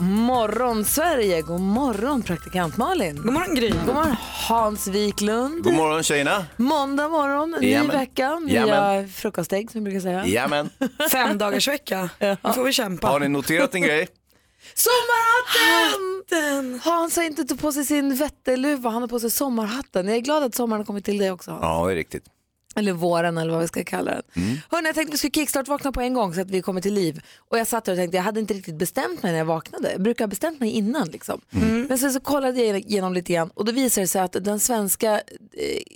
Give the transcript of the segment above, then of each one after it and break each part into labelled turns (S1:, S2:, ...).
S1: morgon Sverige, god morgon praktikant Malin. God morgon Gry. God morgon Hans Wiklund.
S2: God morgon tjejerna!
S1: Måndag morgon, ny
S2: Jajamän.
S1: vecka, nya
S2: Jajamän.
S1: frukostägg som vi brukar säga.
S2: Jajamän!
S3: Fem dagars vecka. Nu får vi kämpa.
S2: Har ni noterat en grej?
S1: Sommarhatten! Hans har inte tagit på sig sin vätteluva, han har på sig sommarhatten. Jag är glad att sommaren har kommit till dig också Hans.
S2: Ja, det är riktigt. Mm.
S1: Eller våren eller vad vi ska kalla den. Hörrni, jag tänkte vi skulle kickstart-vakna på en gång så att vi kommer till liv. Och jag satt där och tänkte, jag hade inte riktigt bestämt mig när jag vaknade. Jag brukar ha bestämt mig innan liksom.
S3: Mm.
S1: Men sen så kollade jag igenom lite igen och då visade det sig att den svenska eh,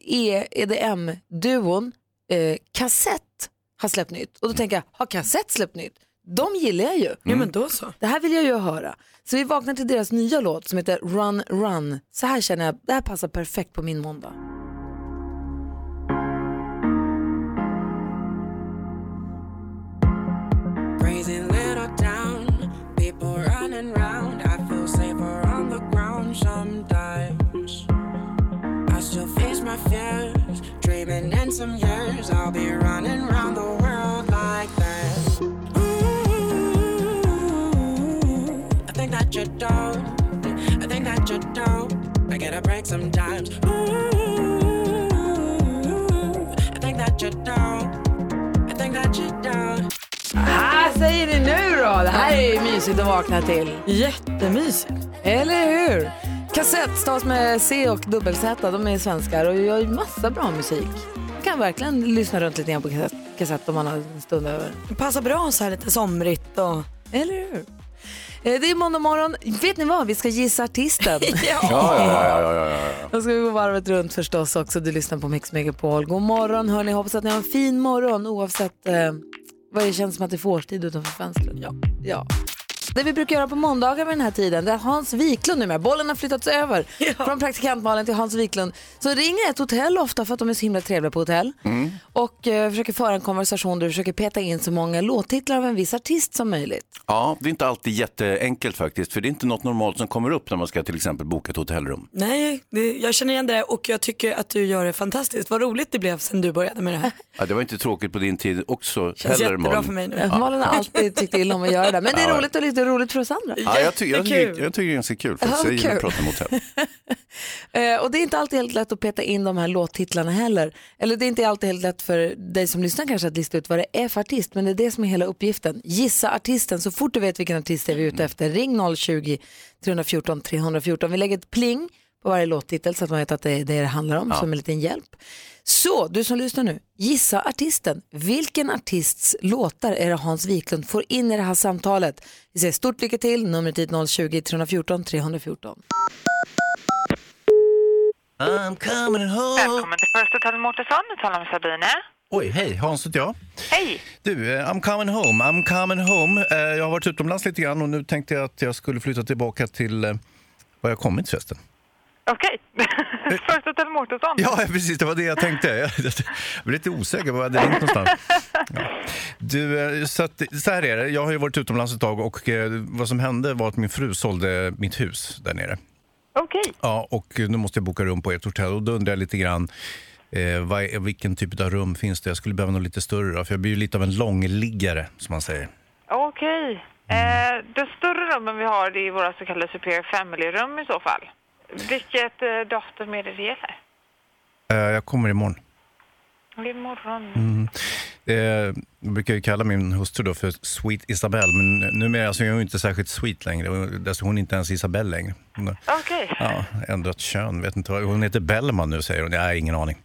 S1: E- EDM-duon eh, Kassett har släppt nytt. Och då tänker jag, har Kassett släppt nytt? De gillar jag ju.
S3: Ja men då så.
S1: Det här vill jag ju höra. Så vi vaknar till deras nya låt som heter Run Run. Så här känner jag, det här passar perfekt på min måndag.
S4: Raising little town, people running round. I feel safer on the ground sometimes. I still face my fears, dreaming in some years I'll be running round the world like that. Ooh, I think that you're dope. I think that you're dope. I get a break sometimes. Ooh, I think that you're dope. I think that you're dope.
S1: Här säger ni nu då? Det här är ju mysigt att vakna till.
S3: Jättemysigt.
S1: Eller hur? Kassett stavas med C och dubbel Z. De är svenskar och gör ju massa bra musik. Kan verkligen lyssna runt lite grann på kassett, kassett om man har en stund över.
S3: Det passar bra så här lite somrigt och...
S1: Eller hur? Eh, Det är måndag morgon. Vet ni vad? Vi ska gissa artisten.
S2: Ja, ja, ja, ja, ja, ja.
S1: Då ska vi gå varvet runt förstås också. Du lyssnar på Mix Megapol. God morgon hörni. Hoppas att ni har en fin morgon oavsett eh, vad det känns som att det är för årstid utanför fönstret. Ja. ja. Det vi brukar göra på måndagar vid den här tiden, det är att Hans Wiklund nu med. Bollen har flyttats över från praktikantmalen till Hans Wiklund. Så ringer ett hotell ofta för att de är så himla trevliga på hotell.
S2: Mm.
S1: Och eh, försöker föra en konversation där du försöker peta in så många låttitlar av en viss artist som möjligt.
S2: ja, det är inte alltid jätteenkelt faktiskt, för det är inte något normalt som kommer upp när man ska till exempel boka ett hotellrum.
S3: Nej, det, jag känner igen det och jag tycker att du gör det fantastiskt. Vad roligt det blev sen du började med det här.
S2: Ja, det var inte tråkigt på din tid också
S3: Känns
S2: heller,
S3: jättebra
S2: Malin.
S3: för mig nu.
S1: Malin har alltid tyckt illa om att göra det, men det är roligt och lite roligt för oss andra.
S2: Ja, jag, ty- jag, tycker,
S3: Jättekul.
S2: jag tycker det är ganska kul faktiskt.
S1: Ja,
S2: Jag gillar
S1: kul.
S2: att prata mot hotell.
S1: Eh, och det är inte alltid helt lätt att peta in de här låttitlarna heller. Eller det är inte alltid helt lätt för dig som lyssnar kanske att lista ut vad det är för artist, men det är det som är hela uppgiften. Gissa artisten, så fort du vet vilken artist det är vi är ute efter, ring 020-314 314. Vi lägger ett pling på varje låttitel så att man vet att det är det det handlar om, som en liten hjälp. Så, du som lyssnar nu, gissa artisten. Vilken artists låtar är det Hans Wiklund får in i det här samtalet? Vi säger stort lycka till, numret hit 020-314 314.
S5: I'm coming home.
S6: Välkommen till First Hotel Mårtensson, du talar med Sabine.
S5: Oj, hej. Hans heter jag.
S6: Hej!
S5: Du, eh, I'm coming home. I'm coming home. Eh, Jag har varit utomlands lite grann och nu tänkte jag att jag skulle flytta tillbaka till eh, var jag kommit förresten.
S6: Okej, First Hotel Mårtensson.
S5: Ja, precis. Det var det jag tänkte. Jag blev lite osäker på var jag hade ringt någonstans. Ja. Du, eh, så, att, så här är det. Jag har ju varit utomlands ett tag och eh, vad som hände var att min fru sålde mitt hus där nere.
S6: Okej,
S5: Ja, och nu måste jag boka rum på ert hotell och då undrar jag lite grann eh, vad, är- vilken typ av rum finns det? Jag skulle behöva något lite större då, för jag blir ju lite av en långliggare som man säger.
S6: okej. Eh, de större rummen vi har det är våra så kallade Superior Family-rum i så fall. Vilket eh, datum är det det gäller?
S5: Eh, jag kommer imorgon.
S6: Det är imorgon.
S5: Eh, jag brukar ju kalla min hustru då för Sweet Isabelle, men numera så är hon ju inte särskilt sweet längre. Hon- Alltså hon är inte ens Isabelle längre. Hon har
S6: Okej,
S5: ja, ändrat kön, vet inte vad. Hon heter Bellman nu säger hon. Jag har ingen aning.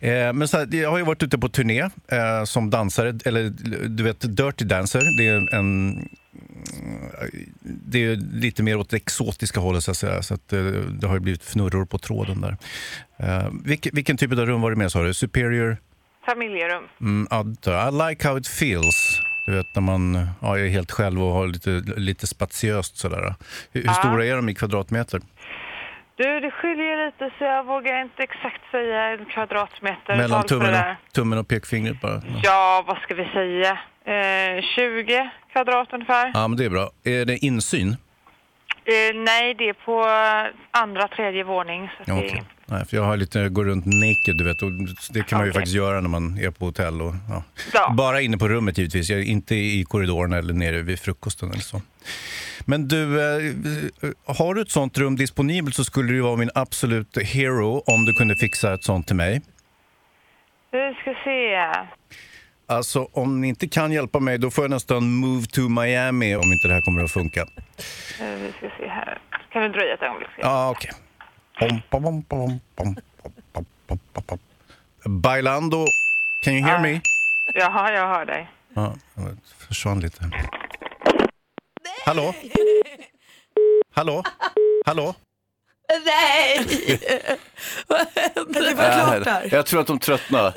S5: Eh, men så här, jag har ju varit ute på turné eh, som dansare, eller du vet Dirty Dancer. Det är en mm, det är lite mer åt det exotiska hållet, så att säga. Så att, eh, det har ju blivit fnurror på tråden där. Eh, vilken, vilken typ av rum var det med, sa du? Superior?
S6: familjerum.
S5: Mm, adda. I like how it feels. Du vet när man ja, är helt själv och har lite, lite spatiöst sådär. Hur, hur stora är de i kvadratmeter?
S6: Du, det skiljer lite så jag vågar inte exakt säga en kvadratmeter.
S7: Mellan
S6: tal på det
S7: tummen
S6: där.
S7: och, tummen och pekfingret bara.
S6: Ja, vad ska vi säga? Eh, 20 kvadrat ungefär.
S7: Ja, men det är bra. Är det insyn?
S6: Eh, nej, det är på eh, andra, tredje våning. Så
S7: Ja,
S6: det är
S7: okej.
S6: ingen-
S7: Nej, för jag har lite, går runt naked, du vet. Och det kan man ju faktiskt göra när man är på hotell. Och, ja. Bara inne på rummet givetvis, Jag är inte i korridoren eller nere vid frukosten eller så. Men du, eh, har du ett sånt rum disponibelt så skulle du vara min absolut hero om du kunde fixa ett sånt till mig.
S6: Vi ska se. Eh,
S7: Alltså, om ni inte kan hjälpa mig, då får jag nästan move to Miami om inte det här kommer att funka.
S6: Eh, vi ska se här. Kan du dröja ett ögonblick?
S7: Ja, okej. Pom, pom, pom, pom, pom, pom, pom, pom, pom, pom. Bailando, can you hear me?
S6: Jaha, jag hör dig.
S7: Ja, det försvann lite. Hallå? Hallå? Hallå?
S1: Nej!
S3: det
S5: Äh, Jag tror att de tröttnar.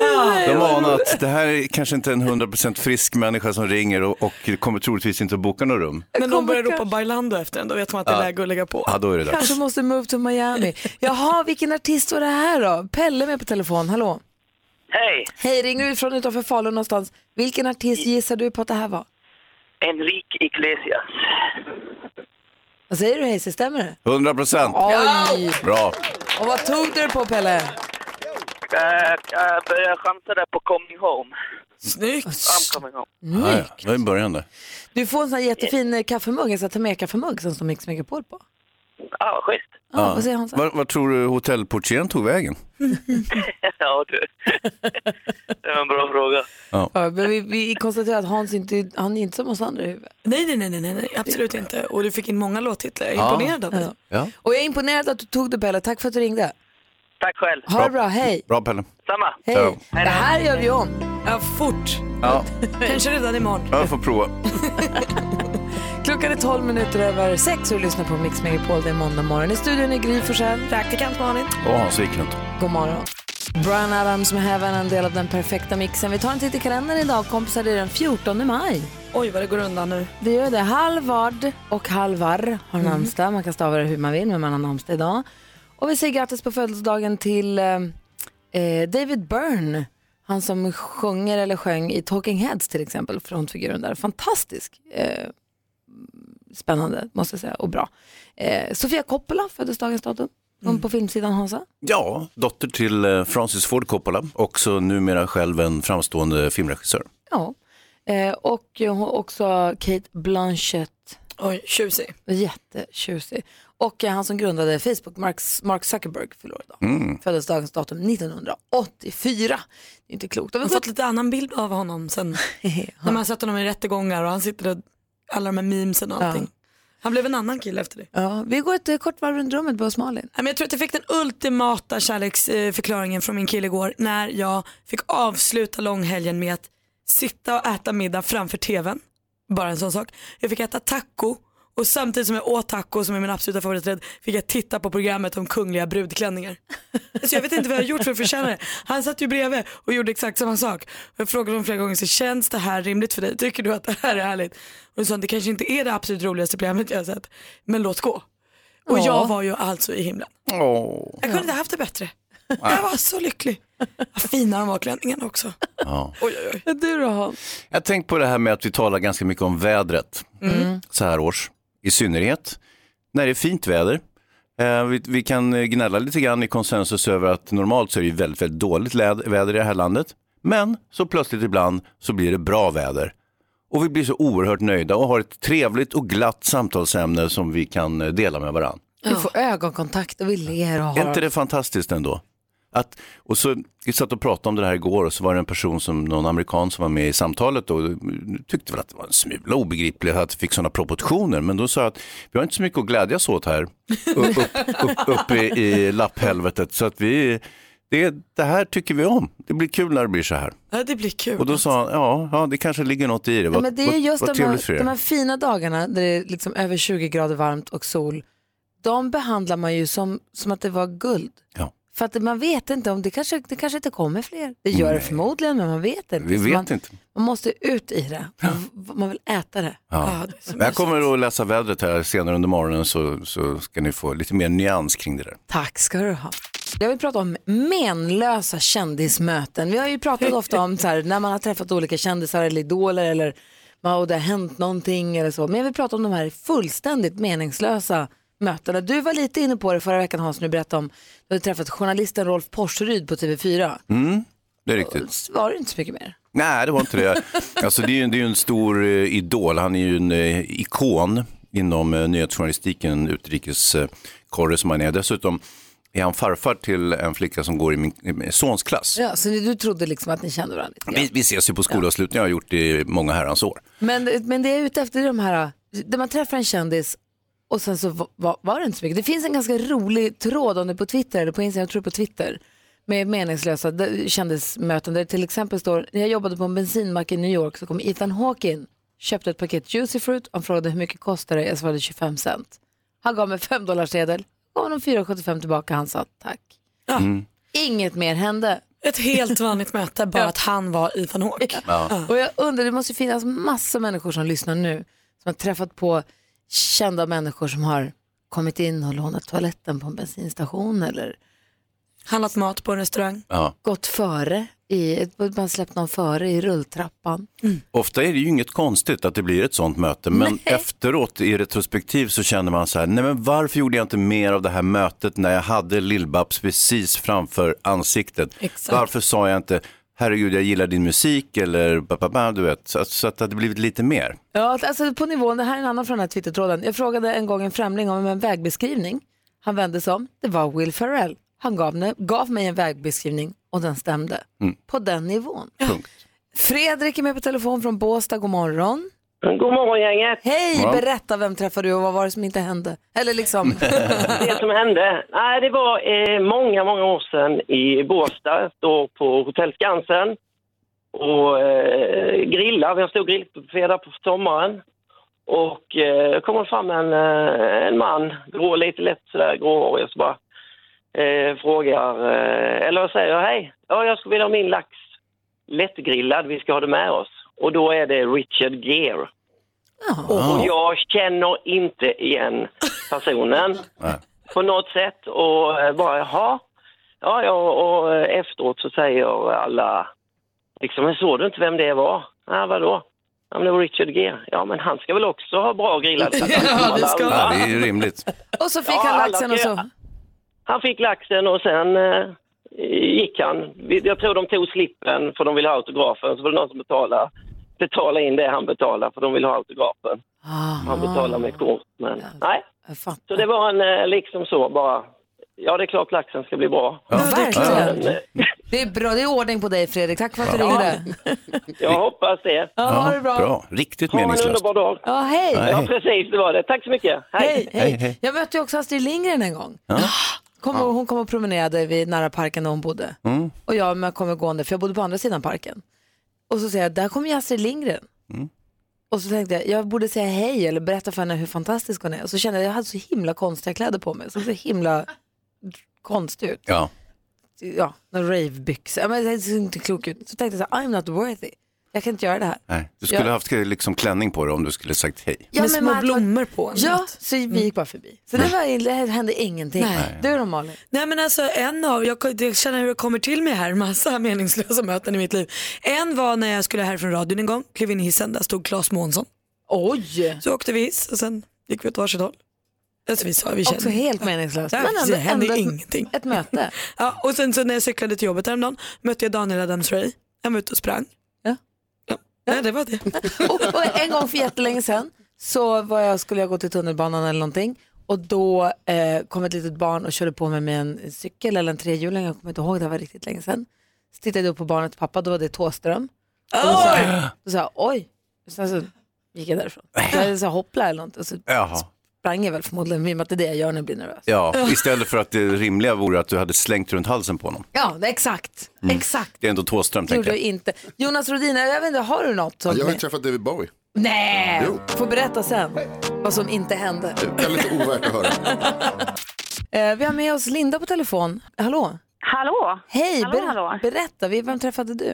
S5: De anar att det här är kanske inte en 100% frisk människa som ringer och, och kommer troligtvis inte att boka något rum.
S3: När någon börjar ropa Bailando efter en, då vet man att det är
S5: Ja.
S3: läge att lägga på.
S5: Ja, då är det
S1: Kanske
S5: dags.
S1: måste move to Miami. Jaha, vilken artist var det här då? Pelle med på telefon, hallå?
S8: Hej,
S1: Hej, ringer du ifrån utanför Falun någonstans? Vilken artist gissar du på att det här var?
S8: Enrique Iglesias.
S1: Vad säger du Hayes, stämmer det?
S5: 100%.
S1: Oj!
S5: Bra.
S1: Och vad tog du det på Pelle?
S8: Eh, Jag började chansa där på Coming Home. Snyggt! I'm coming home.
S5: Ja, ja. Det var i början där.
S1: Du får en sån här jättefin eh, kaffemugg, en sån här Temeka-kaffemugg som står Mix Megapol på.
S8: Ja, vad schysst.
S1: Ja, vad säger han så?
S5: Var, var tror du hotellportieren tog vägen?
S8: ja, du. Det var en bra fråga.
S1: Ja, men vi, vi konstaterar att Hans inte, han är inte som oss andra i huvudet.
S3: Nej, nej, nej, nej, nej, nej, absolut inte. Och du fick in många låttitlar. Jag är
S1: Ja.
S3: imponerad av dig.
S1: Ja. Och jag är imponerad att du tog det Pelle, tack för att du ringde.
S8: Tack själv.
S1: Ha det bra, hej.
S5: Bra Pelle.
S8: Samma.
S1: Hej. Det här gör vi om.
S3: Ja, fort.
S5: Ja,
S3: Kanske redan imorgon.
S5: jag får prova.
S1: Klockan är 12 minuter över 6 och du lyssnar på Mix Megapol. Det är måndag morgon. I studion är Gry Forssell.
S3: Praktikant Malin.
S5: Och Hans Wiklund.
S1: God morgon. Brian Adams med Heaven, en del av den perfekta mixen. Vi tar en titt i kalendern idag, kompisar. Det är den 14 maj.
S3: Oj, vad det går undan nu.
S1: Det gör det. Halvard och Halvar har
S3: Mm.
S1: namnsdag. Man kan stava det hur man vill, men man har namnsdag idag. Och vi säger grattis på födelsedagen till eh, eh, David Byrne. Han som sjunger eller sjöng i Talking Heads till exempel, frontfiguren där. Fantastisk. Eh, spännande, måste jag säga, och bra. Eh, Sofia Coppola föddes dagens datum. Hon på filmsidan, Hansa.
S5: Ja, dotter till eh, Francis Ford Coppola, också numera själv en framstående filmregissör.
S1: Ja. Eh, och hon- också Kate Blanchett.
S3: Oj, tjusig.
S1: Jättetjusig. Och eh, han som grundade Facebook, Mark, Mark Zuckerberg, förlorade idag.
S5: Mm.
S1: Föddes dagens datum 1984. Det är inte klokt.
S3: Jag har fått lite annan bild av honom sen. när man sett honom i rättegångar och han sitter där, alla de här memesen och
S1: Ja.
S3: allting. Han blev en annan kille efter det.
S1: Ja, vi går ett eh, kort varv runt rummet, börjar hos Malin.
S3: Nej, men Jag tror att jag fick den ultimata kärleksförklaringen från min kille igår när jag fick avsluta långhelgen med att sitta och äta middag framför tvn. Bara en sån sak. Jag fick äta taco och samtidigt som jag åt taco som är min absoluta favoriträtt fick jag titta på programmet om kungliga brudklänningar. Så jag vet inte vad jag har gjort för att förtjäna det. Han satt ju bredvid och gjorde exakt samma sak. Och jag frågade honom flera gånger, så känns det här rimligt för dig? Tycker du att det här är härligt? Och då sa han, det kanske inte är det absolut roligaste programmet jag har sett, men låt gå. Och
S1: Ja.
S3: jag var ju alltså i himlen.
S5: Åh.
S3: Jag kunde inte haft det bättre. Jag var så lycklig. Vad fina de var klänningarna också.
S5: Ja.
S3: Oj, oj,
S1: oj. Du då Hans?
S5: Jag har tänkt på det här med att vi talar ganska mycket om vädret
S3: Mm.
S5: så här års. I synnerhet när det är fint väder. Eh, Vi, vi kan eh, gnälla lite grann i konsensus över att normalt så är det ju väldigt, väldigt dåligt läd- väder i det här landet. Men så plötsligt ibland så blir det bra väder. Och vi blir så oerhört nöjda och har ett trevligt och glatt samtalsämne som vi kan eh, dela med varandra.
S1: Vi får ögonkontakt och vi ler och
S5: Är
S1: har...
S5: inte det fantastiskt ändå? Att, och så, vi satt och pratade om det här igår och så var det en person, som, någon amerikan som var med i samtalet och tyckte väl att det var en smula obegripligt att det fick sådana proportioner. Men då sa jag att vi har inte så mycket att glädjas åt här u- upp, upp, uppe i, i lapphelvetet. Så att vi, det, det här tycker vi om. Det blir kul när det blir så här.
S3: Ja, det blir kul.
S5: Och då sa han, ja, ja det kanske ligger något i det.
S1: Ja,
S5: Vad,
S1: men det är just
S5: vad, vad
S1: de,
S5: trevligt för
S1: här,
S5: er.
S1: de här fina dagarna där det är liksom över 20 grader varmt och sol. De behandlar man ju som, som att det var guld.
S5: Ja.
S1: För att man vet inte om det kanske, det kanske inte kommer fler. Det gör det
S5: Nej.
S1: förmodligen, men man vet inte.
S5: Vi
S1: Så
S5: vet
S1: man,
S5: inte.
S1: Man måste ut i det. Man, man vill äta det.
S5: Ja. jag kommer att läsa vädret här senare under morgonen så, så ska ni få lite mer nyans kring det där.
S1: Tack ska du ha. Jag vill prata om menlösa kändismöten. Vi har ju pratat ofta om så här, när man har träffat olika kändisar eller idoler eller man- och det har hänt någonting eller så. Men jag vill prata om de här fullständigt meningslösa mötena. Du var lite inne på det förra veckan Hans, när du berättade om du hade träffat journalisten Rolf Porseryd på TV4.
S5: Mm, det är riktigt.
S1: Var det inte så mycket mer?
S5: Nej, det var inte det. Alltså, det, är ju, det är ju en stor eh, idol. Han är ju en eh, ikon inom eh, nyhetsjournalistiken, utrikeskorre som han är. Dessutom är han farfar till en flicka som går i min i min sons klass.
S1: Ja, så du trodde liksom att ni kände varandra? lite.
S5: Vi, vi ses ju på skolavslutningar, har gjort det i många herrans år.
S1: Men, men det är ute efter de här, där man träffar en kändis och sen så va- va- var det inte så mycket. Det finns en ganska rolig tråd om det på Twitter, eller på Instagram, jag tror på Twitter, med meningslösa d- kändismöten där det till exempel står, när jag jobbade på en bensinmack i New York så kom Ethan Hawke in, köpte ett paket Juicy Fruit, han frågade hur mycket kostar det, jag svarade 25 cent. Han gav mig 5 dollar sedel, gav honom 4,75 tillbaka, han sa tack.
S5: Mm.
S1: Inget mer hände.
S3: Ett helt vanligt möte, bara att han var Ethan Hawke.
S5: Ja.
S1: Och jag undrar, det måste ju finnas massa människor som lyssnar nu som har träffat på kända människor som har kommit in och lånat toaletten på en bensinstation eller
S3: handlat mat på en restaurang.
S5: Ja.
S1: gått före, i, man släppt någon före i rulltrappan.
S5: Ofta är det ju inget konstigt att det blir ett sånt möte, men efteråt i retrospektiv så känner man så här, nej men varför gjorde jag inte mer av det här mötet när jag hade Lill-Babs precis framför ansiktet?
S3: Exakt.
S5: Varför sa jag inte, herregud jag gillar din musik eller ba, ba, ba, du vet, så, att- så att det hade blivit lite mer.
S1: Ja, alltså på nivån, det här är en annan från den här Twittertråden. Jag frågade en gång en främling om en vägbeskrivning. Han vände sig om, det var Will Ferrell. Han gav, mig- gav mig en vägbeskrivning och den stämde.
S5: Mm.
S1: På den nivån.
S5: Punkt.
S1: Fredrik är med på telefon från Båstad, god morgon.
S8: Mm, God morgon gänget.
S1: Hej,
S8: Morgon.
S1: berätta vem träffade du och vad var det som inte hände? Eller liksom...
S8: det som hände? Nej, det var eh, många, många år sedan i Båstad, då på Hotell Skansen och eh, grillade. Jag stod och grillade där på sommaren. Och eh, kommer fram en, eh, en man, grå, lite lätt sådär gråhårig, så bara eh, frågar, eh, eller jag säger hej, ja, jag skulle vilja ha min lax lättgrillad, vi ska ha det med oss. Och då är det Richard Gere. Och jag känner inte igen personen på något sätt och eh, bara jaha. Ja, ja, och eh, efteråt så säger alla liksom, men såg du inte vem det var? Ja, vadå? Ja, men det var Richard Gere. Ja, men han ska väl också ha bra grillad lax?
S5: Ja,
S8: Alla andra.
S5: det är ju rimligt.
S1: Och så fick
S8: Ja,
S1: han
S8: alla
S1: laxen och
S8: ska-
S1: så.
S8: Han fick laxen och sen eh, gick han. Vi- Jag tror de tog slippen för de ville ha autografen. Så var det någon som betalade, betalade in det han betalade för de ville ha autografen.
S5: Ah.
S8: Han betalade med kort. Men, nej. Så det var en eh, liksom så bara. Ja, det är klart laxen ska bli bra.
S1: Ja, verkligen.
S8: Men, eh,
S1: Det är bra, det är ordning på dig Fredrik. Tack för att du ringde.
S8: Jag hoppas det.
S1: Ja, ha det bra.
S5: Riktigt
S8: Ha en
S5: meningslöst.
S8: underbar dag.
S1: Ja, hej.
S8: Ja, precis, det var det. Tack så mycket.
S1: Hej, hej.
S5: Hej, hej.
S1: Jag mötte ju också Astrid Lindgren en gång.
S5: Ja.
S1: Kom, och- Hon kom och promenerade vid nära parken där hon bodde.
S5: Mm.
S1: Och jag men jag kommer gående, för jag bodde på andra sidan parken. Och så säger jag, där kommer ju Astrid Lindgren.
S5: Mm.
S1: Och så tänkte jag, jag borde säga hej eller berätta för henne hur fantastisk hon är. Och så kände jag, jag hade så himla konstiga kläder på mig. Jag såg så himla konstig ut.
S5: Ja.
S1: Ja, några ravebyxor. Ja, Men det såg inte klok ut. Så tänkte jag, så här, I'm not worthy. Jag kan inte göra det här.
S5: Nej. Du skulle
S1: Ja.
S5: haft liksom klänning på dig om du skulle sagt hej.
S1: Ja,
S3: Med små
S1: man-
S3: blommor på. eller
S1: Ja,
S3: något.
S1: så vi gick bara förbi. Så det, var, det hände ingenting.
S3: Nej.
S1: Du då Malin?
S3: Nej men alltså en av, jag jag känner hur det kommer till mig här, massa meningslösa möten i mitt liv. En var när jag skulle härifrån radion en gång, klev in i hissen, där stod Claes Månsson.
S1: Oj!
S3: Så åkte vi hiss och sen gick vi åt varsitt håll. Alltså vi sa, vi kände.
S1: Också helt meningslöst.
S3: Ja,
S1: Men ändå-
S3: det hände
S1: ändå ett-
S3: ingenting.
S1: Ett möte.
S3: Ja, och sen så när jag cyklade till jobbet häromdagen mötte jag Daniel Adams-Ray. Han var ute och sprang.
S1: Ja.
S3: Nej, det var det.
S1: Och, och en gång för jättelänge sedan så var jag, skulle jag gå till tunnelbanan eller någonting och då eh, kom ett litet barn och körde på mig med en cykel eller en trehjuling, jag kommer inte ihåg, det var riktigt länge sedan. Så tittade jag upp på barnets pappa, då var det Tåström. Och då sa jag, då sa jag oj, sen så gick jag därifrån. Så jag sa hoppla eller något och så
S5: Jaha.
S1: sprang jag väl förmodligen, i och med att det är det jag gör när jag blir nervös.
S5: Ja, istället för att det rimliga vore att du hade slängt runt halsen på honom.
S1: Ja, det är exakt.
S5: Mm.
S1: Exakt.
S5: Det är ändå Thåström,
S1: Det gjorde
S5: tänker
S1: jag
S5: jag.
S1: inte. Jonas Rodin, jag vet inte, har du något? Som
S9: Jag har ju träffat David Bowie.
S1: Nej!
S9: Jo.
S1: Får berätta sen vad som inte hände.
S9: Väldigt ovärt att höra.
S1: Eh, vi har med oss Linda på telefon. Hallå?
S10: Hallå!
S1: Hej,
S10: hallå,
S1: ber-
S10: hallå.
S1: berätta, vi- vem träffade du?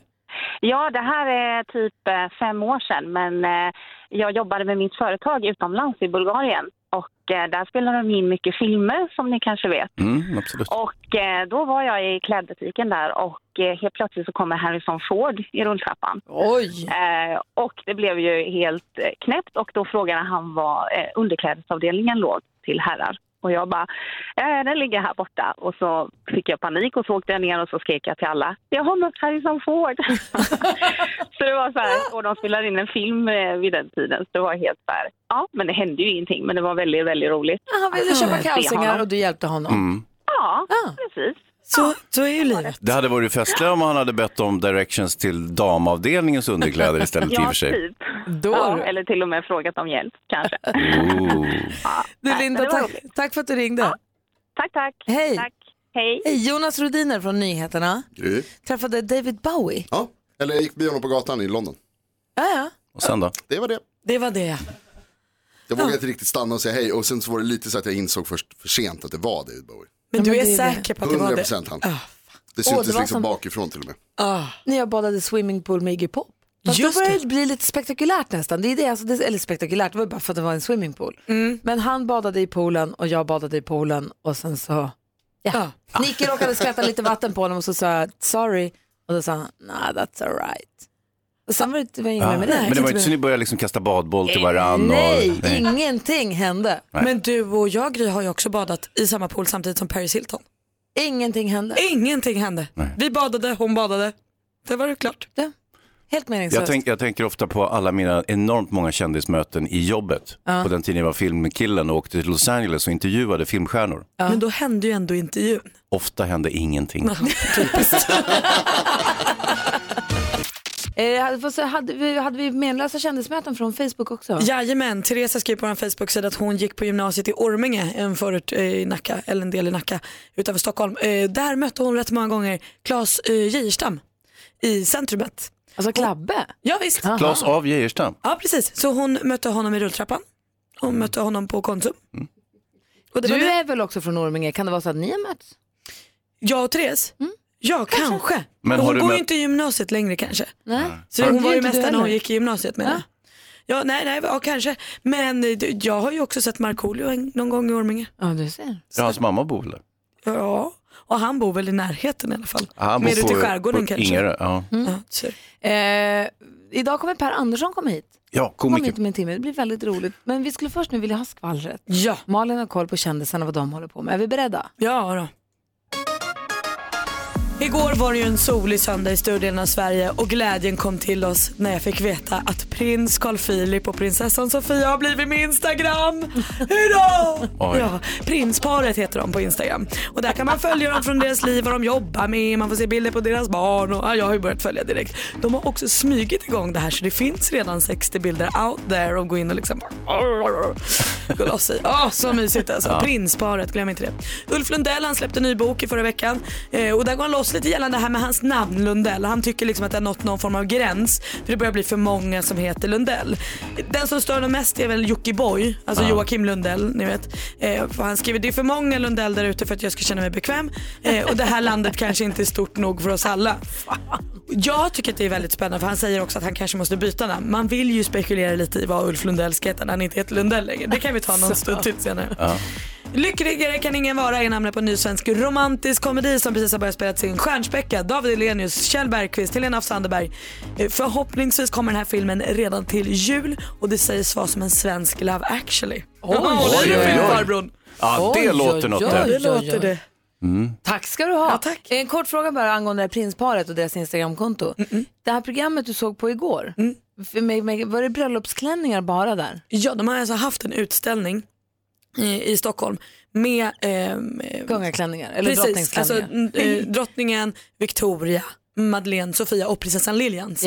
S10: Ja, det här är typ eh, fem år sedan, men eh, jag jobbade med mitt företag utomlands i Bulgarien och eh, där spelar de in mycket filmer som ni kanske vet.
S5: Mm, absolut.
S10: Och eh, då var jag i klädbutiken där och eh, helt plötsligt så kommer Harrison Ford i rulltrappan.
S1: Oj!
S10: Eh, och det blev ju helt eh, knäppt och då frågade han var eh, underklädesavdelningen låg till herrar. Och jag bara, eh, den ligger här borta. Och så fick jag panik och så åkte jag ner och så skrek jag till alla, jag har något Harrison Ford. så det var så här, och de spelade in en film eh, vid den tiden. Så det var helt så här, ja men det hände ju ingenting men det var väldigt, väldigt roligt.
S1: Han ville
S10: att
S1: köpa
S10: se
S1: kalsingar
S10: honom.
S1: och du hjälpte honom. Ah.
S5: Mm.
S10: Ja, precis.
S1: Så, så är ju livet.
S5: Det hade varit festligare om han hade bett om directions till damavdelningens underkläder istället i och
S10: ja,
S5: för sig.
S10: Typ. Ja, eller till och med frågat om hjälp kanske.
S5: Ooh. Ah.
S1: Du Linda,
S10: det var
S1: tack, tack för att du ringde.
S10: Tack, tack.
S1: Hej.
S10: Hej.
S1: Jonas Rodiner från Nyheterna
S9: Gry.
S1: träffade David Bowie.
S9: Ja, eller jag gick förbi honom på gatan i London.
S1: Ja, ja.
S5: Och sen då?
S9: Det var det.
S1: Det var det.
S9: Jag vågade inte riktigt stanna och säga hej och sen så var det lite så att jag insåg först för sent att det var David Bowie.
S3: Men du är säker på att det Ah, var
S9: 100
S3: det?
S9: procent han. Det
S1: Åh, det
S9: syntes
S1: var
S9: liksom
S1: som-
S9: bakifrån till och med.
S1: När jag badade swimmingpool med Iggy Pop. Fast
S9: Just
S1: då började Ah. det bli lite spektakulärt nästan. Det är det, alltså, det, eller spektakulärt, det var bara för att det var en swimmingpool. Men han badade i poolen och jag badade i poolen och sen så, ja. Nicky råkade skratta lite vatten på honom och så sa jag sorry och då sa han nah that's alright. Och sen var det, det var inget
S5: Ja.
S1: mer med det.
S5: Men det var inte så ni började liksom kasta badboll till varann?
S1: Nej,
S5: och...
S1: ingenting hände.
S5: Nej.
S3: Men du och jag Gry har ju också badat i samma pool samtidigt som Paris Hilton.
S1: Ingenting hände.
S3: Ingenting hände. Vi badade, hon badade. Det var det klart.
S1: Helt meningslöst.
S5: Jag, tänk, jag tänker ofta på alla mina enormt många kändismöten i jobbet.
S3: Ja.
S5: På den tiden jag var filmkillen och åkte till Los Angeles och intervjuade filmstjärnor.
S3: Men då hände ju ändå intervjun. typ.
S5: Ofta hände ingenting.
S1: Eh, hade, fast hade, vi, hade vi menlösa kändismöten från Facebook också?
S3: Jajamän, Therese skrev på vår Facebook-sida att hon gick på gymnasiet i Orminge, en förort eh, i Nacka, eller en del i Nacka utanför Stockholm. Eh, Där mötte hon rätt många gånger Claes eh, Geijerstam i centrumet.
S1: Alltså Klabbe?
S3: Ja visst.
S5: Claes av Geijerstam.
S3: Ja precis, så hon mötte honom i rulltrappan. Hon mötte honom på Konsum. Och det
S1: Mm. du
S3: var det.
S1: är väl också från Orminge? Kan det vara så att ni har mötts? Mm.
S3: Jag och Therese? Ja, kanske.
S1: Men
S3: Men
S1: har
S3: hon
S1: du
S3: går
S1: mött-
S3: ju inte i gymnasiet längre kanske.
S1: Nej.
S3: Så
S1: Har-
S3: hon var
S1: Det är
S3: ju
S1: inte
S3: mest
S1: du
S3: där när hon
S1: heller.
S3: gick i gymnasiet menar jag. Ja, nej, nej, ja, kanske. Men eh, det- jag har ju också sett Markoolio en- någon gång i Orminge.
S1: Ja, du ser.
S5: Ja, hans mamma bor väl där?
S3: Ja, och han bor väl i närheten i alla fall.
S5: Ja, han bor
S3: Mer ute i
S5: på-
S3: skärgården
S5: på
S3: kanske.
S5: Ingarö, ja.
S3: Ja, så.
S1: Mm. Eh, idag kommer Per Andersson komma hit.
S5: Ja,
S1: Kom
S5: komiker.
S1: hit om en timme, det blir väldigt roligt. Men vi skulle först nu vilja ha skvallret.
S3: Ja.
S1: Malin har koll på kändisarna, vad de håller på med. Är vi beredda?
S3: Ja då. Igår var det ju en solig söndag i större delen av Sverige och glädjen kom till oss när jag fick veta att prins Carl Philip och prinsessan Sofia har blivit med Instagram. Hurra!
S4: Oj.
S3: Ja, prinsparet heter de på Instagram. Och där kan man följa dem från deras liv, vad de jobbar med, man får se bilder på deras barn och ja, jag har ju börjat följa direkt. De har också smugit igång det här så det finns redan 60 bilder out there och gå in och liksom gå loss i. Åh, så mysigt alltså.
S4: Ja.
S3: Prinsparet, glöm inte det. Ulf Lundell han släppte en ny bok i förra veckan eh, och där går han loss lite gällande det här med hans namn Lundell. Han tycker liksom att det har nått någon form av gräns för det börjar bli för många som heter Lundell. Den som stör honom mest är väl Jockiboi, alltså
S4: Ja.
S3: Joakim Lundell, ni vet. Eh, för han skriver det är för många Lundell där ute för att jag ska känna mig bekväm eh, och det här landet kanske inte är stort nog för oss alla. Jag tycker att det är väldigt spännande för han säger också att han kanske måste byta namn. Man vill ju spekulera lite i vad Ulf Lundell ska heta när han inte heter Lundell längre. Det kan vi ta någon stund till senare.
S5: Ja.
S3: Lyckligare kan ingen vara är namnet på en ny svensk romantisk komedi som precis har börjat spela sin Stjärnspäckad, David Hellenius, Kjell Bergqvist, Helena af Sanderberg. Eh, Förhoppningsvis kommer den här filmen redan till jul och det sägs vara som en svensk Love actually.
S1: Oj,
S3: Ja, den är
S1: oj,
S3: fin,
S1: oj.
S3: farbrorn.
S5: Ja, det
S1: Oj,
S5: låter
S1: oj,
S5: något
S1: oj,
S5: det.
S1: oj, oj.
S3: Låter det. Mm.
S1: Tack ska du ha. En kort fråga bara angående det här prinsparet och deras Instagramkonto. Det här programmet du såg på igår, för mig- mig- var det bröllopsklänningar bara där?
S3: Mm. Ja, de har alltså haft en utställning i, i Stockholm med ehm, eh,
S1: Kungaklänningar eller Mm.
S3: precis, alltså,
S1: drottningsklänningar.
S3: n- eh, drottningen Victoria, Madeleine, Sofia och prinsessan Lilians.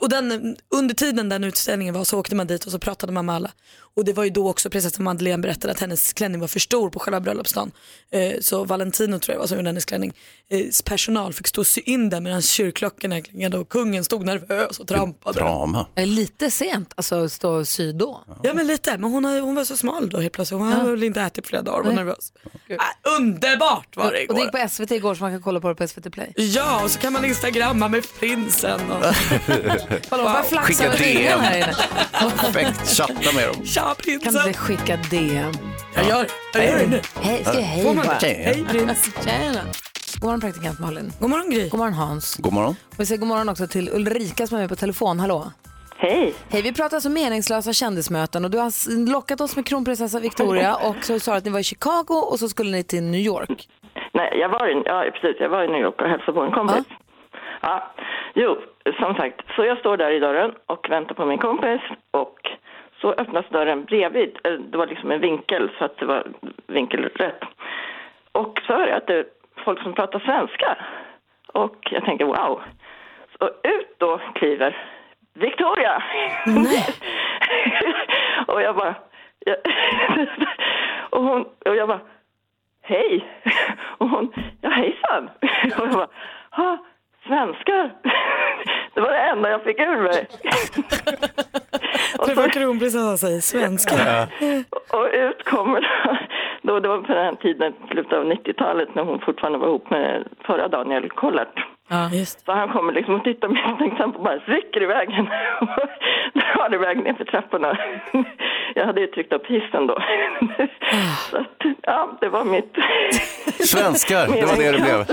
S3: Och den, under tiden den utställningen var så åkte man dit och så pratade man med alla. Och det var ju då också prinsessan Madeleine berättade att hennes klänning var för stor på själva bröllopsdagen. Eh, så Valentino tror jag var som gjorde hennes klänning. Eh, personal fick stå och sy in den medan kyrkklockorna klingade och kungen stod nervös och trampade.
S5: Drama.
S1: Eh, Lite sent, alltså stå och sy då.
S3: Ja men lite, men hon, har- hon var så smal då helt plötsligt. Hon hade väl inte ätit flera dagar och var
S1: Nej.
S3: nervös. Ah, underbart var det
S1: Och det
S3: igår.
S1: gick på SVT igår så man kan kolla på det på SVT Play.
S3: Ja, och så kan man instagramma med prinsen. Och...
S1: Hallå, vad flaxar
S5: Skicka
S1: över fingrarna
S5: DM.
S1: här inne.
S5: Perfekt, chatta med dem.
S3: Tja prinsen!
S1: Kan du inte skicka DM?
S5: Jag gör- jag gör det nu.
S1: Hej, ska jag
S5: Ja.
S1: hej
S5: Får man-
S1: bara.
S5: Okej, ja. Hej,
S1: prins. Tjena. God morgon praktikant Malin.
S3: God morgon Gry.
S1: God morgon Hans.
S5: God morgon.
S1: Och vi säger god morgon också till Ulrika som är med på telefon. Hallå.
S11: Hej.
S1: Hej, vi pratar alltså meningslösa kändismöten och du har s- lockat oss med kronprinsessa Victoria och så sa du att ni var i Chicago och så skulle ni till New York.
S11: Nej, jag var, i, ja, precis, jag var i New York och hälsade på en kompis. Ja. Jo, som sagt, så jag står där i dörren och väntar på min kompis och så öppnas dörren bredvid. Eh, Det var liksom en vinkel så att det var vinkelrätt. Och så hör jag att det är folk som pratar svenska. Och jag tänker wow. Så ut då kliver Victoria! och jag bara... Jag, och, hon, och jag bara, hej! Och hon, ja hejsan! Och jag bara, ha, svenskar! Det var det enda jag fick ur mig.
S3: Träffa kronprinsessan säger svenska.
S11: Och ut kommer då, det var på den här tiden, slutet av 90-talet, när hon fortfarande var ihop med förra Daniel Kollert.
S3: Ja, just.
S11: Så han kommer liksom och tittar misstänksamt på mig, rycker i vägen och drar iväg ner för trapporna. Jag hade ju tryckt upp hissen då. Så att, ja, det var mitt...
S5: Svenskar, det var det det blev.
S1: Och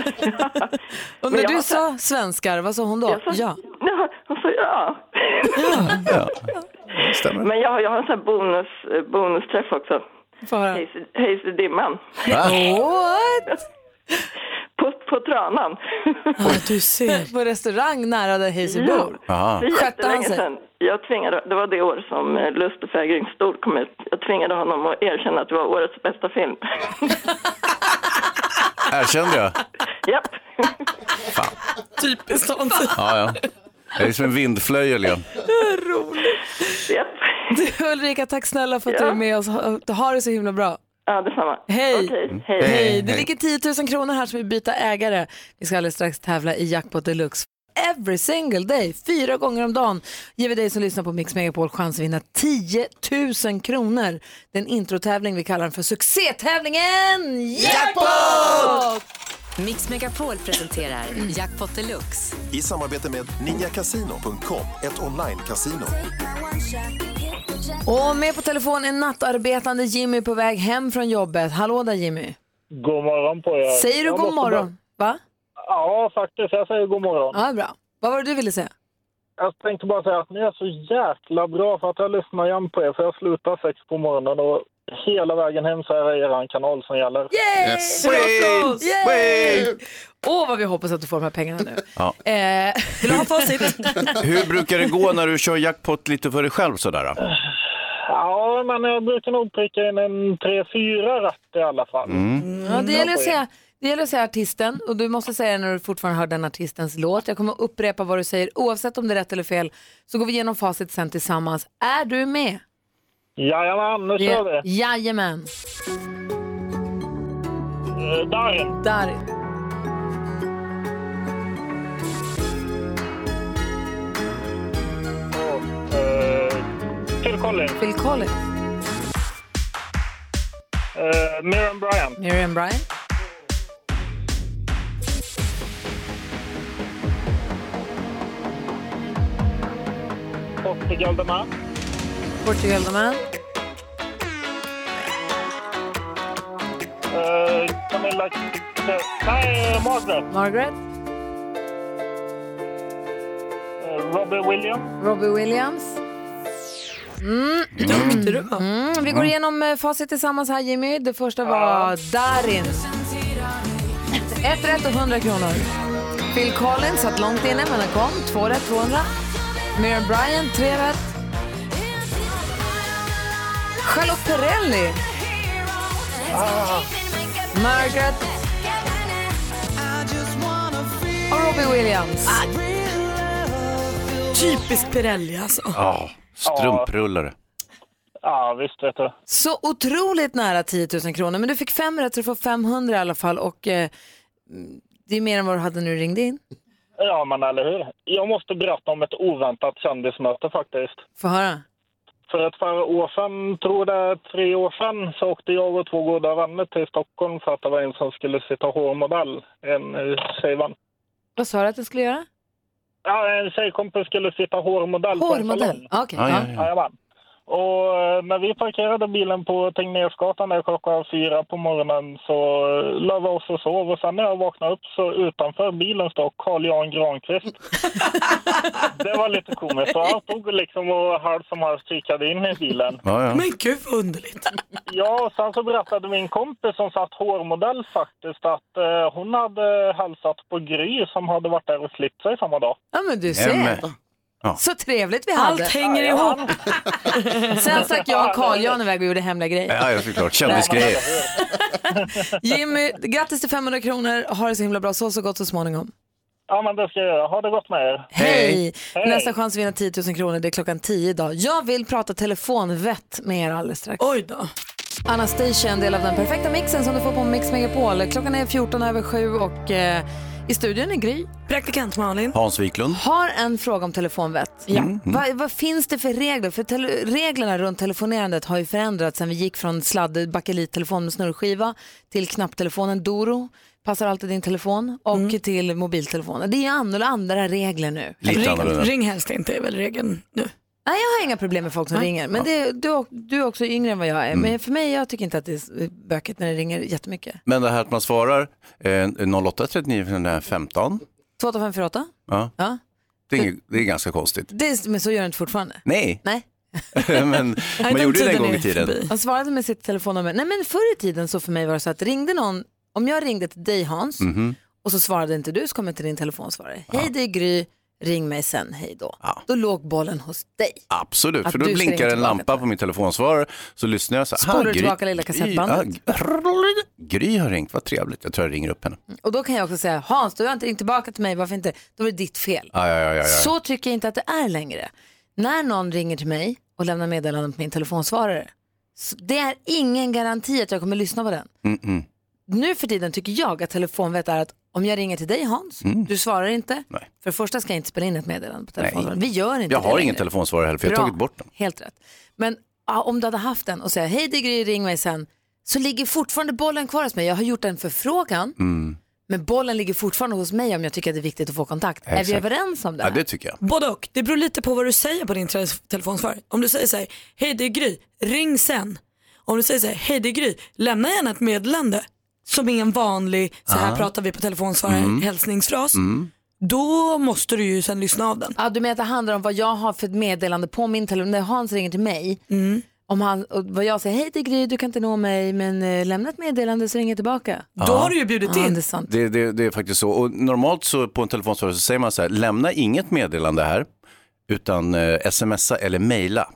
S11: Men
S1: när
S11: jag
S1: du
S11: var-
S1: sa svenskar, vad sa hon då?
S11: Jag sa-
S1: ja.
S11: Ja, hon sa ja. Men jag, har- jag har en sån här bonus, eh, bonusträff också. Hejs i- Hejs i dimman.
S1: What?
S11: På, på Tranan.
S3: du ser.
S1: på restaurang nära där Hayes bor.
S11: Det är
S1: Skötte han
S11: jättelänge
S1: sig?
S11: sedan. Jag tvingade, det var det år som eh, Lust och fägringstol kom ut. Jag tvingade honom att erkänna att det var årets bästa film.
S5: Erkände jag?
S11: Japp.
S5: Fan.
S3: Typiskt sånt.
S5: Ja, ja. Jag är som en vindflöjel. Ja.
S1: Du, Ulrika, tack snälla för att du är med oss. Ha, ha det så himla bra.
S11: Ja, detsamma.
S1: Hej.
S11: Okej,
S1: hej.
S11: hej.
S1: Det ligger 10 000 kronor här som vi byter ägare. Vi ska alldeles strax tävla i Jackpot Deluxe. Every single day, fyra gånger om dagen, ger vi dig som lyssnar på Mix Megapol chans att vinna 10 000 kronor. Det är en introtävling, vi kallar den för succétävlingen Jackpot!
S12: Mix Megapol presenterar Jackpot Deluxe.
S13: I samarbete med ninjakasino.com, ett online-casino.
S1: Och med på telefon är nattarbetande Jimmy på väg hem från jobbet. Hallå där Jimmy.
S14: God morgon på er.
S1: Säger du
S14: Jag
S1: god
S14: måste
S1: morgon? Va?
S14: bara- Ja, faktiskt. Jag säger god morgon.
S1: Ja, bra. Vad var det du ville säga?
S14: Jag tänkte bara säga att ni är så jäkla bra för att jag lyssnar igen på er. För jag slutar sex på morgonen och hela vägen hem så är det er kanal som gäller.
S1: Yay!
S14: Yes.
S1: Bra oss!
S14: Yay!
S1: Yay! Åh, vad vi hoppas att du får de här pengarna nu.
S14: Mm,
S5: Ja.
S1: Eh, Vill du ha facit?
S5: Hur brukar det gå när du kör jackpot lite för dig själv sådär? Då?
S14: Ja, men jag brukar nog pricka in en tre, fyra rätt i alla fall.
S5: Mm.
S1: Ja, det, gäller att säga, det gäller att säga artisten och du måste säga det när du fortfarande hör den artistens låt. Jag kommer upprepa vad du säger oavsett om det är rätt eller fel. Så går vi igenom facit sen tillsammans. Är du med?
S14: Jajamän, nu kör vi.
S1: Jajamän.
S14: Eh, Darin,
S1: Darin.
S14: eh, Phil Collins,
S1: Phil Collins.
S14: eh, Miriam Bryant,
S1: Miriam Bryant.
S14: Portugal The Man,
S1: Portugal The Man.
S14: eh, Camilla... Nej, eh, Margaret.
S1: Margaret.
S14: Eh, Robbie Williams.
S1: Robbie Williams. Mm. Mm. Vi går igenom eh, facit tillsammans här Jimmy. Det första var Darin. Ett rätt och 100 kronor. Phil Collins satt långt inne men den kom. Två rätt, 200. Miriam Bryant, tre rätt. Charlotte Perrelli. Margaret. Och Robbie Williams.
S3: Typiskt Pirelli alltså.
S5: Ja, strumprullare.
S14: Ja, Ah, visst vet du.
S1: Så otroligt nära 10 000 kronor, men du fick fem rätt så du får 500 i alla fall och eh, det är mer än vad du hade när du ringde in.
S14: Ja, men eller hur. Jag måste berätta om ett oväntat kändismöte faktiskt.
S1: Få höra.
S14: För ett par år sedan, tror det är tre år sedan, så åkte jag och två goda vänner till Stockholm för att det var en som skulle sitta hårmodell, en eh, tjejvän.
S1: Vad sa du att den skulle göra?
S14: Ja, eh, en tjejkompis skulle sitta hårmodell på en
S1: Hårmodell?
S14: salong.
S1: Ah, Okej.
S14: Ja, Jajamän. Och eh, när vi parkerade bilen på Tegnérsgatan där klockan fyra på morgonen så eh, la vi oss och sov och sen när jag vaknade upp så utanför bilen står Carl Jan Granqvist. det var lite komiskt. Så han stod liksom och halvt som halvt kikade in i bilen.
S5: Ja, ja.
S3: Men gud vad underligt.
S14: Ja, och sen så berättade min kompis som satt hårmodell faktiskt att eh, hon hade hälsat på Gry som hade varit där och klippt sig samma dag.
S1: Ja, men du ser.
S14: Nämen.
S5: Ja.
S1: Så trevligt vi hade.
S3: Allt hänger ihop.
S1: Sen stack jag och Carl-Jan iväg och gjorde hemliga grejer.
S5: Ja, ja, såklart. Kändisgrejer.
S1: Jimmy, grattis till 500 kronor. Ha det så himla bra. Så så gott så småningom.
S14: Ja, men det ska jag göra. Ha det gott med er.
S1: Hej! Nästa chans att vinna 10 000 kronor det är klockan 10 idag. Jag vill prata telefonvett med er alldeles strax.
S3: Oj då.
S1: Anastasia, en del av den perfekta mixen som du får på Mix Megapol. Klockan är 14 över 7 och eh, i studion är Gry.
S3: Praktikant Malin.
S5: Hans Wiklund.
S1: Har en fråga om telefonvett.
S5: Ja. Mm.
S1: Vad, vad finns det för regler? För tele- reglerna runt telefonerandet har ju förändrats sen vi gick från sladd bakelittelefon med snurrskiva till knapptelefonen Doro. Passar alltid din telefon och
S3: Mm.
S1: till mobiltelefonen. Det är ju annorlunda andra regler nu.
S5: Lite annorlunda.
S3: Ring helst inte är väl regeln nu.
S1: Nej, jag har inga problem med folk som ringer. Men det, du, du är också yngre än vad jag är.
S5: Mm.
S1: Men för mig, jag tycker inte att det är s- bökigt när det ringer jättemycket.
S5: Men det här att man svarar eh, 08 39 515,
S1: 2548?
S5: ja.
S1: Ja.
S5: det, är, inget- det är ganska konstigt.
S1: Det, är- men så gör du inte fortfarande.
S5: Nej,
S1: Nej.
S5: men man
S3: den
S5: gjorde det en
S3: tiden
S5: gång
S3: är
S5: i tiden.
S3: förbi.
S1: Han svarade med sitt telefonnummer. Nej men förr i tiden så för mig var det så att ringde någon, om jag ringde till dig Hans
S5: Mhm.
S1: och så svarade inte du så kom jag till din telefonsvarare. Hej det är Gry, ring mig sen, hej då. Då låg bollen hos dig.
S5: Ah, Absolut,
S1: Att
S5: för
S1: du
S5: då
S1: ska ringa
S5: blinkar en
S1: tillbaka
S5: lampa på min telefonsvarare så lyssnar jag så här.
S1: Spolar
S5: "Ha,
S1: du
S5: Gry-
S1: tillbaka lilla kassettbandet?"
S5: Ja, grrrr, Gry har ringt, vad trevligt. Jag tror jag ringer upp henne.
S1: Och då kan jag också säga, Hans du har inte ringt tillbaka till mig, varför inte? Då är det ditt fel.
S5: Ja, ja, ja, ja, ja.
S1: Så tycker jag inte att det är längre. När någon ringer till mig och lämnar meddelanden på min telefonsvarare, så det är ingen garanti att jag kommer lyssna på den.
S5: Mm -mm.
S1: nu för tiden tycker jag att telefonvett är att om jag ringer till dig Hans,
S5: Mm.
S1: du svarar inte. För det första ska jag inte spela in ett meddelande på telefonen. Vi gör inte
S5: Jag
S1: det
S5: har
S1: längre.
S5: ingen telefonsvarare heller, för jag har
S1: Bra.
S5: tagit bort den.
S1: Helt rätt. Men ja, om du hade haft den och säger hej det är Gry, ring mig sen. Så ligger fortfarande bollen kvar hos mig. Jag har gjort en förfrågan,
S5: Mm.
S1: men bollen ligger fortfarande hos mig om jag tycker att det är viktigt att få kontakt. Är vi
S5: Exakt.
S1: överens om det?
S5: Ja,
S1: här?
S5: det tycker jag.
S3: Både och. Det beror lite på vad du säger på din te- telefonsvar. Om du säger så här, hej det är Gry, ring sen. Om du säger så här, hej det är Gry, lämna gärna ett meddelande som är en vanlig, så här
S1: Ah.
S3: pratar vi på telefonsvarare,
S1: Mm.
S3: hälsningsfras.
S5: Mm.
S3: Då måste du ju sen lyssna av den.
S1: Ja, du menar att det handlar om vad jag har för ett meddelande på min telefon. När Hans ringer till mig,
S5: Mm.
S1: om han, och vad jag säger, hej det är Gry, du kan inte nå mig, men eh, lämna ett meddelande så ringer jag tillbaka.
S5: Då Ja. har du ju
S3: bjudit
S1: ja,
S3: in.
S1: Det är sant.
S5: Det, det, det är faktiskt så. Och normalt så på en telefonsvarare så säger man så här, lämna inget meddelande här, utan eh, smsa eller mejla.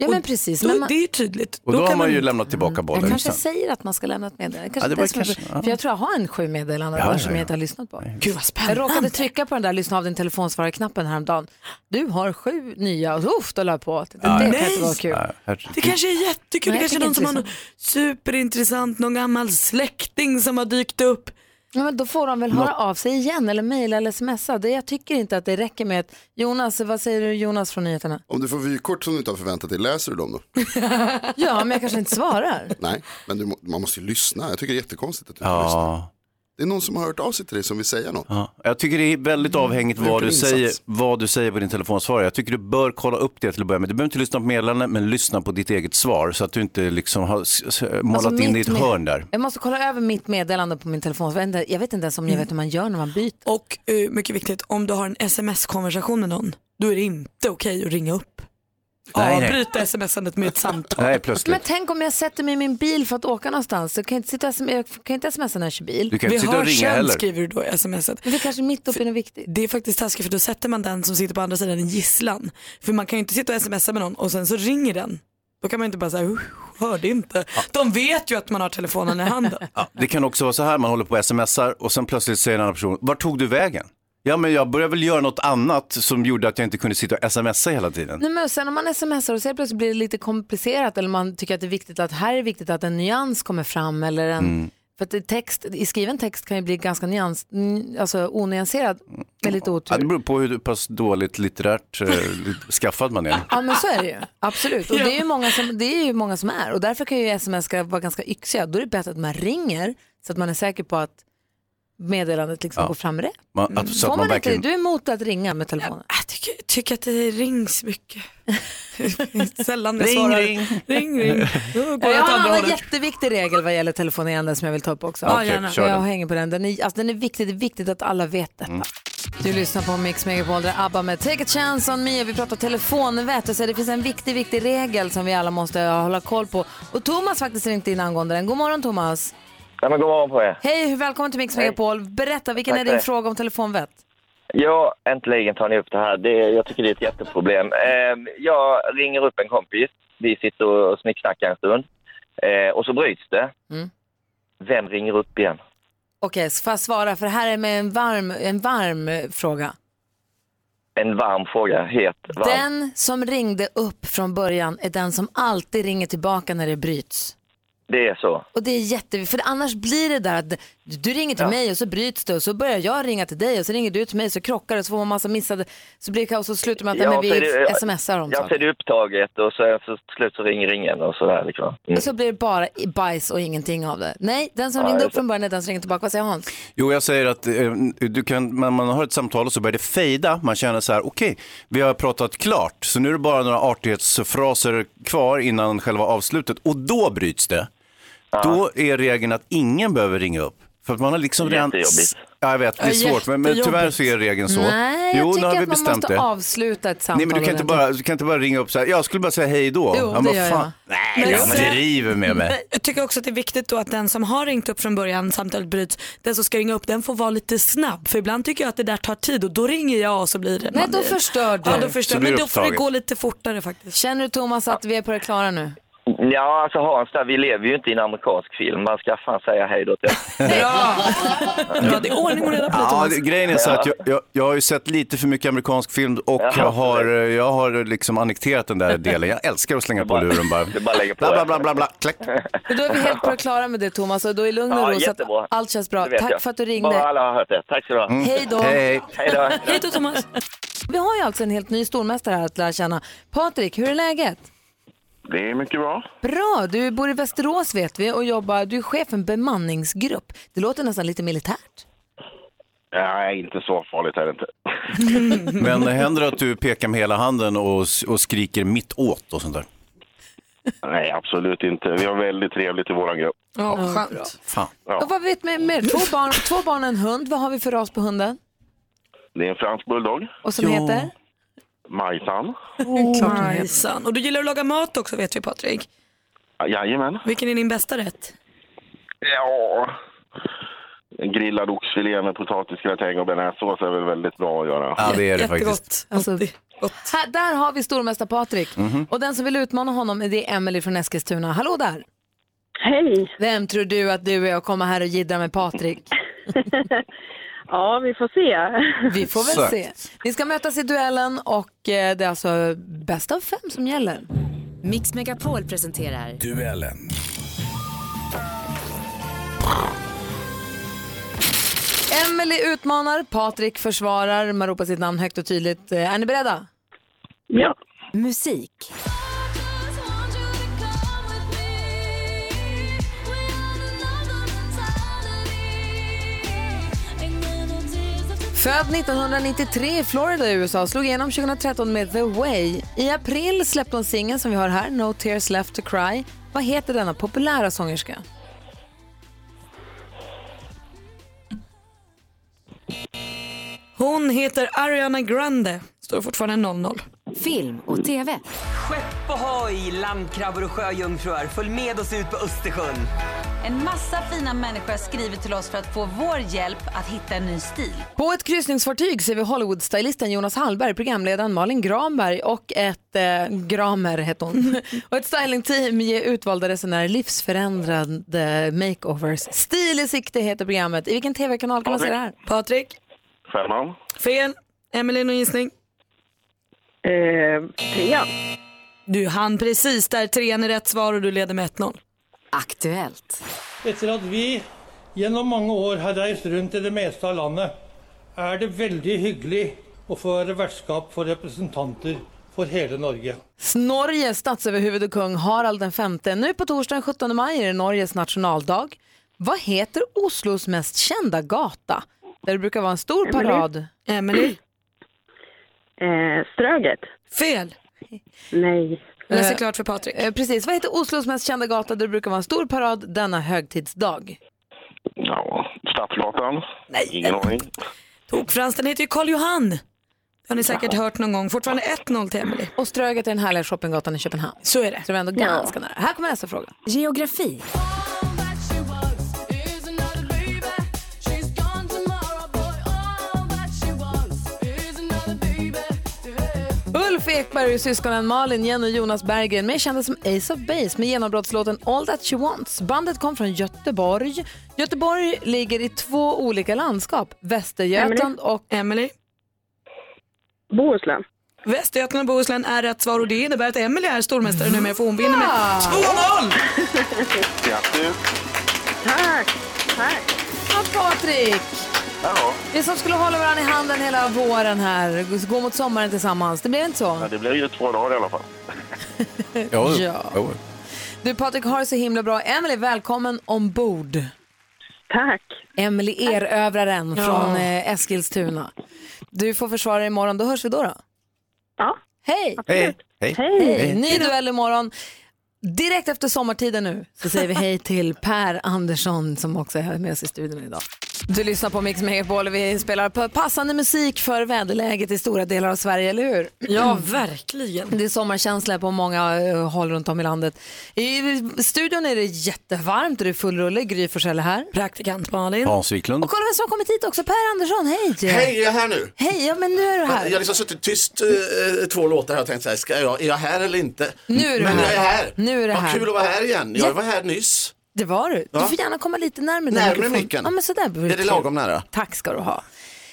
S1: Ja men precis.
S3: Då,
S1: men man-
S3: det är ju tydligt.
S5: Och då, har
S3: kan
S5: man, ju lämnat tillbaka bollen.
S1: Mm. jag kanske
S5: sen.
S1: säger att man ska lämna ett meddelande.
S5: Ja,
S1: Kanske
S5: det
S1: det
S5: var
S1: som är
S5: kanske-
S1: pro-
S5: ja.
S1: För jag tror jag har en sju meddelanden
S5: Ja,
S1: där
S5: ja,
S1: som
S5: ja.
S1: jag inte har lyssnat på.
S3: Gud vad
S1: Jag
S3: spännande.
S1: råkade trycka på den där lyssna av din telefonsvararknappen häromdagen. Du har sju nya och uff, då la jag på. Det, det kan inte vara kul.
S5: Ja, herregud.
S3: Det kanske är jättekul.
S1: Nej,
S3: det kanske är
S1: jag
S3: någon som
S1: tycker
S3: har
S1: inte
S3: någon superintressant, någon gammal släkting som har dykt upp.
S1: Ja, men då får de väl
S3: Nå-
S1: höra av sig igen eller mejla eller smsa. Det, jag tycker inte att det räcker med att Jonas, vad säger du Jonas från nyheterna?
S9: Om du får vykort som du inte har förväntat dig, läser du dem då?
S1: Ja, men jag kanske inte svarar.
S9: Nej, men du, må- man måste ju lyssna. Jag tycker det är jättekonstigt att du inte lyssnar.
S5: Ja.
S9: Det är någon som har hört av sig till dig som vill säga något.
S5: Ja. Jag tycker det är väldigt avhängigt
S9: Mm.
S5: vad du,
S9: Vilken
S5: säger,
S9: insats.
S5: vad du säger på din telefonsvarare. Jag tycker du bör kolla upp det till att börja med. Du behöver inte lyssna på meddelandet, men lyssna på ditt eget svar så att du inte liksom har s- s- målat
S1: Alltså,
S5: in i
S1: mitt
S5: ett
S1: med-
S5: hörn där.
S1: Jag måste kolla över mitt meddelande på min telefon. Jag vet inte- Jag vet inte ens om jag vet hur man gör när man byter.
S3: Mm. Och eh, mycket viktigt, om du har en sms-konversation med någon, då är det inte okej att ringa upp.
S5: Nej, nej.
S3: Avbryta smsandet med ett samtal.
S5: Nej,
S1: Men
S5: plötsligt.
S1: tänk om jag sätter mig i min bil för att åka någonstans. Jag kan inte, sitta, och sm- jag kan inte smsa när jag kör bil.
S5: Du kan ju inte sitta och ringa heller.
S3: skriver du då i smset.
S1: Men det kanske är mitt uppe i något viktigt.
S3: Det är faktiskt taskigt för då sätter man den som sitter på andra sidan i gisslan. För man kan ju inte sitta och smsa med någon och sen så ringer den. Då kan man ju inte bara säga, "Uh, hörde inte. De vet ju att man har telefonen i handen.
S5: Ja, det kan också vara så här, man håller på och smsar och sen plötsligt säger en annan person, var tog du vägen? Ja, men jag började väl göra något annat som gjorde att jag inte kunde sitta och smsa hela tiden.
S1: Nej, men sen om man smsar och så plötsligt blir det lite komplicerat eller man tycker att det är viktigt att här är viktigt att en nyans kommer fram eller en
S5: Mm.
S1: För att det är text, i skriven text kan ju bli ganska nyans, n- alltså onyanserad med lite
S5: Ja,
S1: otur.
S5: det beror på hur pass dåligt litterärt eh, skaffad man är.
S1: Ja men så är det ju, absolut. Och det är ju många som, det är, ju många som är. Och därför kan ju sms ska vara ganska yxiga. Då är det bättre att man ringer så att man är säker på att meddelandet liksom
S5: Ja.
S1: går fram rätt.
S5: Man, att, så
S1: Får
S5: att man
S1: man
S5: verkligen...
S1: inte, du är emot att ringa med telefonen?
S3: Jag tycker att det rings mycket. Sällan jag
S1: Ring,
S3: svarar.
S1: ring.
S3: ring, ring. Då går jag
S1: Jag
S3: åt
S1: har en
S3: andra
S1: annan
S3: hållet.
S1: jätteviktig regel vad gäller telefonerande som jag vill ta upp också.
S3: Ja, Okej, gärna. kör Mm.
S1: jag
S3: den.
S1: hänger på den. Den är, alltså, den är viktig. Det är viktigt att alla vet detta. Du lyssnar på Mix Megapol där ABBA med Take a chance on me. Vi pratar telefonvett och så det finns en viktig, viktig regel som vi alla måste eh, hålla koll på. Och Thomas faktiskt ringt in angående den. God morgon Thomas.
S15: Ja, men god morgon på er.
S1: Hej, välkommen till Mix
S15: Hej.
S1: Megapol. Berätta, vilken
S15: Tack
S1: är
S15: för
S1: din
S15: det.
S1: fråga om telefonvett?
S15: Ja, äntligen tar ni upp det här. Det, jag tycker det är ett jätteproblem. Eh, jag ringer upp en kompis. Vi sitter och snicksnackar en stund. Eh, och så bryts det.
S1: Mm.
S15: Vem ringer upp igen?
S1: Okej, okay, får jag svara? För det här är med en varm, en varm eh, fråga.
S15: En varm fråga. Het varm.
S1: Den som ringde upp från början är den som alltid ringer tillbaka när det bryts.
S15: Det är så.
S1: Och det är jätteviktigt, för annars blir det där att du ringer till mig och så bryts det och så börjar jag ringa till dig och så ringer du till mig så krockar det och så får man massa missade, så blir det kaos och så slutar man att nej, men
S15: så
S1: vi
S15: är det-
S1: smsar om
S15: Ja, så
S1: saker.
S15: är det upptaget och så, så till slut så ringer ingen och sådär. Liksom. Mm.
S1: Och så blir det bara i- bajs och ingenting av det. Nej, den som
S15: Ja,
S1: ringde
S15: jag
S1: upp från början är den som ringer tillbaka. Vad säger Hans?
S5: Jo, jag säger att eh, du kan, när man har ett samtal och så börjar det fejda, man känner så här, okej, vi har pratat klart, så nu är det bara några artighetsfraser kvar innan själva avslutet och då bryts det. Då är regeln att ingen behöver ringa upp. För att man har liksom redan...
S15: Jättejobbigt.
S5: Ja, jag vet, det är
S15: Ja,
S5: svårt, men, men tyvärr
S15: jättejobbigt.
S5: så är regeln så.
S1: Nej, jag
S5: jo, nu
S1: tycker
S5: har vi
S1: att man
S5: bestämt
S1: måste
S5: det.
S1: avsluta ett samtal.
S5: Nej, men du kan, inte
S1: ordentligt.
S5: bara, du kan inte bara ringa upp så här, jag skulle bara säga hej då.
S3: Jo,
S5: men
S3: det
S5: vad
S3: gör
S5: fan. Nej,
S3: Men-
S5: jag driver med mig.
S3: Jag tycker också att det är viktigt då att den som har ringt upp från början, samtalet bryts, den som ska ringa upp den får vara lite snabb. För ibland tycker jag att det där tar tid och då ringer jag och så blir det...
S1: Nej,
S3: man
S1: då
S3: blir-
S1: förstör du.
S3: Ja, då förstör,
S15: Så blir
S3: men
S15: det
S3: då får det
S15: upptaget.
S3: gå lite fortare faktiskt.
S1: Känner du Thomas att vi är på det klara nu?
S15: Ja, alltså Hans, där, vi lever ju inte i en amerikansk film. Man ska fan säga hej då till
S3: Ja, det är ordning och reda på det,
S5: Ja,
S3: Thomas.
S5: det, grejen är så att jag, jag, jag har ju sett lite för mycket amerikansk film och jag har, eh, jag har liksom annekterat den där delen. Jag älskar att slänga på luren bara.
S15: Du bara lägger på.
S5: Bla, bla, bla, bla, bla. Klick.
S1: Men Då är vi helt på det klara med det Thomas och då är lugn och
S15: Ja,
S1: ro så att
S15: jättebra.
S1: allt känns bra.
S15: Det vet
S1: Tack
S15: jag.
S1: för att du ringde.
S15: Bara alla har hört det. Tack så du ha.
S1: Mm. Hej då.
S15: Hej. Hej då.
S1: Hej då Thomas. Vi har ju alltså en helt ny stormästare här att lära känna. Patrik, hur är läget?
S16: Det är mycket bra.
S1: Bra, du bor i Västerås vet vi och jobbar, du är chef för en bemanningsgrupp. Det låter nästan lite militärt.
S16: Nej, inte så farligt är det inte.
S5: Men händer det att du pekar med hela handen och, s- och skriker mitt åt och sånt där?
S16: Nej, absolut inte. Vi har väldigt trevligt i vår grupp.
S1: Ja, skönt.
S5: Fan.
S1: Och vad vet vi mer? Två barn, två barn och en hund. Vad har vi för ras på hunden?
S16: Det är en fransk bulldog.
S1: Och som heter?
S16: Majsan.
S3: Majsan. Och du gillar att laga mat också vet vi Patrik.
S16: Jajamän.
S3: Vilken är din bästa rätt?
S16: Ja. En grillad oxfilé med potatisgratäng och bearnaisesås är väl väldigt bra att göra.
S5: Ja, det är det
S3: Jättegott.
S5: faktiskt.
S1: Alltså, här, där har vi stormästare Patrik.
S5: Mhm.
S1: Och den som vill utmana honom är det Emily från Eskilstuna. Hallå där!
S17: Hej!
S1: Vem tror du att du är och kommer här och jiddrar med Patrik?
S17: Ja, vi får se.
S1: Vi får väl se. Ni ska mötas i duellen och eh, det är alltså bäst av fem som gäller.
S12: Mix Megapol presenterar
S18: Duellen.
S1: Emily utmanar, Patrik försvarar. Man ropar sitt namn högt och tydligt. Eh, Är ni beredda?
S17: Ja.
S1: Musik. Född 1993 i Florida i USA, slog igenom 2013 med The Way. I april släppte hon singeln som vi har här, No Tears Left To Cry. Vad heter denna populära sångerska?
S3: Hon heter Ariana Grande. Står fortfarande 0-0.
S12: film och tv.
S19: Skepp och hoj, landkrabbor och sjöjungfrur. Följ med oss ut på Östersjön.
S20: En massa fina människor har skrivit till oss för att få vår hjälp att hitta en ny stil.
S1: På ett kryssningsfartyg ser vi Hollywood-stylisten Jonas Hallberg, programledaren Malin Granberg och ett... Eh, Gramer heter hon. och ett stylingteam ger utvalda resenärer livsförändrande makeovers. Stil i sikte heter programmet. I vilken tv-kanal kan man se det här? Patrik?
S16: Femman.
S3: Fel. Emelie, någon gissning?
S17: Eh, trean.
S3: Du hann precis där. Trean är rätt svar och du leder med 1-0.
S12: Aktuellt.
S21: Etter at vi gjennom mange år har reist rundt i det meste av landet, er det veldig hyggelig å få være vertskap for representanter for hele Norge.
S1: Norge statsöverhuvud och kung Harald den femte. Nu på torsdag den 17 maj är det Norges nationaldag. Vad heter Oslos mest kända gata? Där det brukar vara en stor
S17: Emily.
S1: parad.
S3: Emelie?
S17: Eh, Ströget.
S3: Fel.
S17: Nej. Eh.
S3: Läser klart för Patrik.
S1: Eh, precis. Vad heter Oslos mest kända gata där det brukar vara en stor parad denna högtidsdag?
S16: Ja, Stadsgatan.
S3: Nej.
S16: Ingen aning.
S3: Tokfrans, den heter ju Karl Johan. Det har ni säkert hört någon gång. Fortfarande 1-0 till Emelie.
S1: Och Ströget är den härliga shoppinggatan i Köpenhamn.
S3: Så är det.
S1: Så de är ändå ganska nära. Här kommer nästa fråga.
S12: Geografi.
S1: Ulf Ekberg och syskonen Malin, Jenny och Jonas Berggren, mer kända som Ace of Base med genombrottslåten All That She Wants. Bandet kom från Göteborg. Göteborg ligger i två olika landskap, Västergötland och...
S3: Emily.
S17: Bohuslän.
S3: Västergötland och Bohuslän är rätt svar och det innebär att Emelie är stormästare numera för hon vinner med 2-0!
S16: Grattis!
S17: Tack. Tack.
S1: Ja, Patrik! Vi som skulle hålla varandra i handen hela våren här, gå mot sommaren tillsammans. Det blev inte så?
S16: Ja, det blir ju två dagar i alla fall.
S5: Ja.
S1: Ja. Du Patrik, har det så himla bra. Emily, välkommen ombord.
S17: Tack.
S1: Emily erövraren
S17: Ja.
S1: från eh, Eskilstuna. Du får försvara dig imorgon, då hörs vi då. då.
S17: Ja.
S1: Hej!
S5: Hej. Hej.
S1: Hej. Ny duell imorgon. Direkt efter sommartiden nu så säger vi hej till Per Andersson som också är här med oss i studion idag. Du lyssnar på Mix Megapol och vi spelar på passande musik för väderläget i stora delar av Sverige, eller hur?
S3: Ja, verkligen.
S1: Det är sommarkänsla på många eh, håll runt om i landet. I studion är det jättevarmt och det är full rulle. Gry Forssell är här.
S3: Praktikant Malin.
S5: Hans Wiklund.
S1: Och kolla vem som har kommit hit också, Per Andersson, hej!
S7: Hej, är jag här nu?
S1: Hej, ja men nu är du
S7: Jag
S1: här.
S7: har liksom suttit tyst eh, två låtar här och tänkt så här, ska jag, är jag här eller inte?
S1: Nu är du
S7: Men
S1: här.
S7: jag är här.
S1: Nu är du
S7: Vad
S1: här.
S7: kul att vara här igen.
S1: Ja.
S7: Jag var här nyss.
S1: Det var du. Du
S7: Ja.
S1: får gärna komma lite närmare din
S7: Närmare
S1: mikrofon.
S7: micken.
S1: Ja men sådär vore
S7: Är det
S1: kul.
S7: lagom nära?
S1: Tack ska du ha.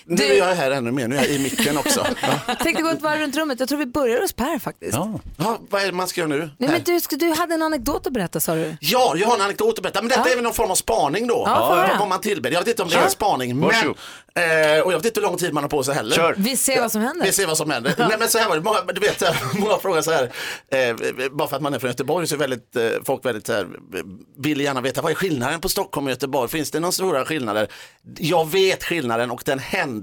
S7: Nu är jag här ännu mer, nu är jag i micken också. Ja.
S1: Tänkte gå ett varv runt rummet, jag tror vi börjar hos Per faktiskt.
S7: Ja. vad är det man ska göra nu?
S1: Nej, men du, sk- du hade en anekdot att berätta sa du.
S7: Ja, jag har en anekdot att berätta, men detta är väl någon form av spaning då.
S1: Ja, får höra.
S7: vad man tillber. Jag vet inte om det är en spaning, men,
S1: Varsågod.
S7: eh, och jag vet inte hur lång tid man har på sig heller.
S1: Kör. Vi ser vad som händer.
S7: Vi ser vad som händer. Nej, men så här var det, många, du vet, så här, många frågar så här, eh, bara för att man är från Göteborg så är väldigt, eh, folk väldigt så här, eh, vill gärna veta vad är skillnaden på Stockholm och Göteborg? Finns det några stora skillnader? Jag vet skillnaden och den hände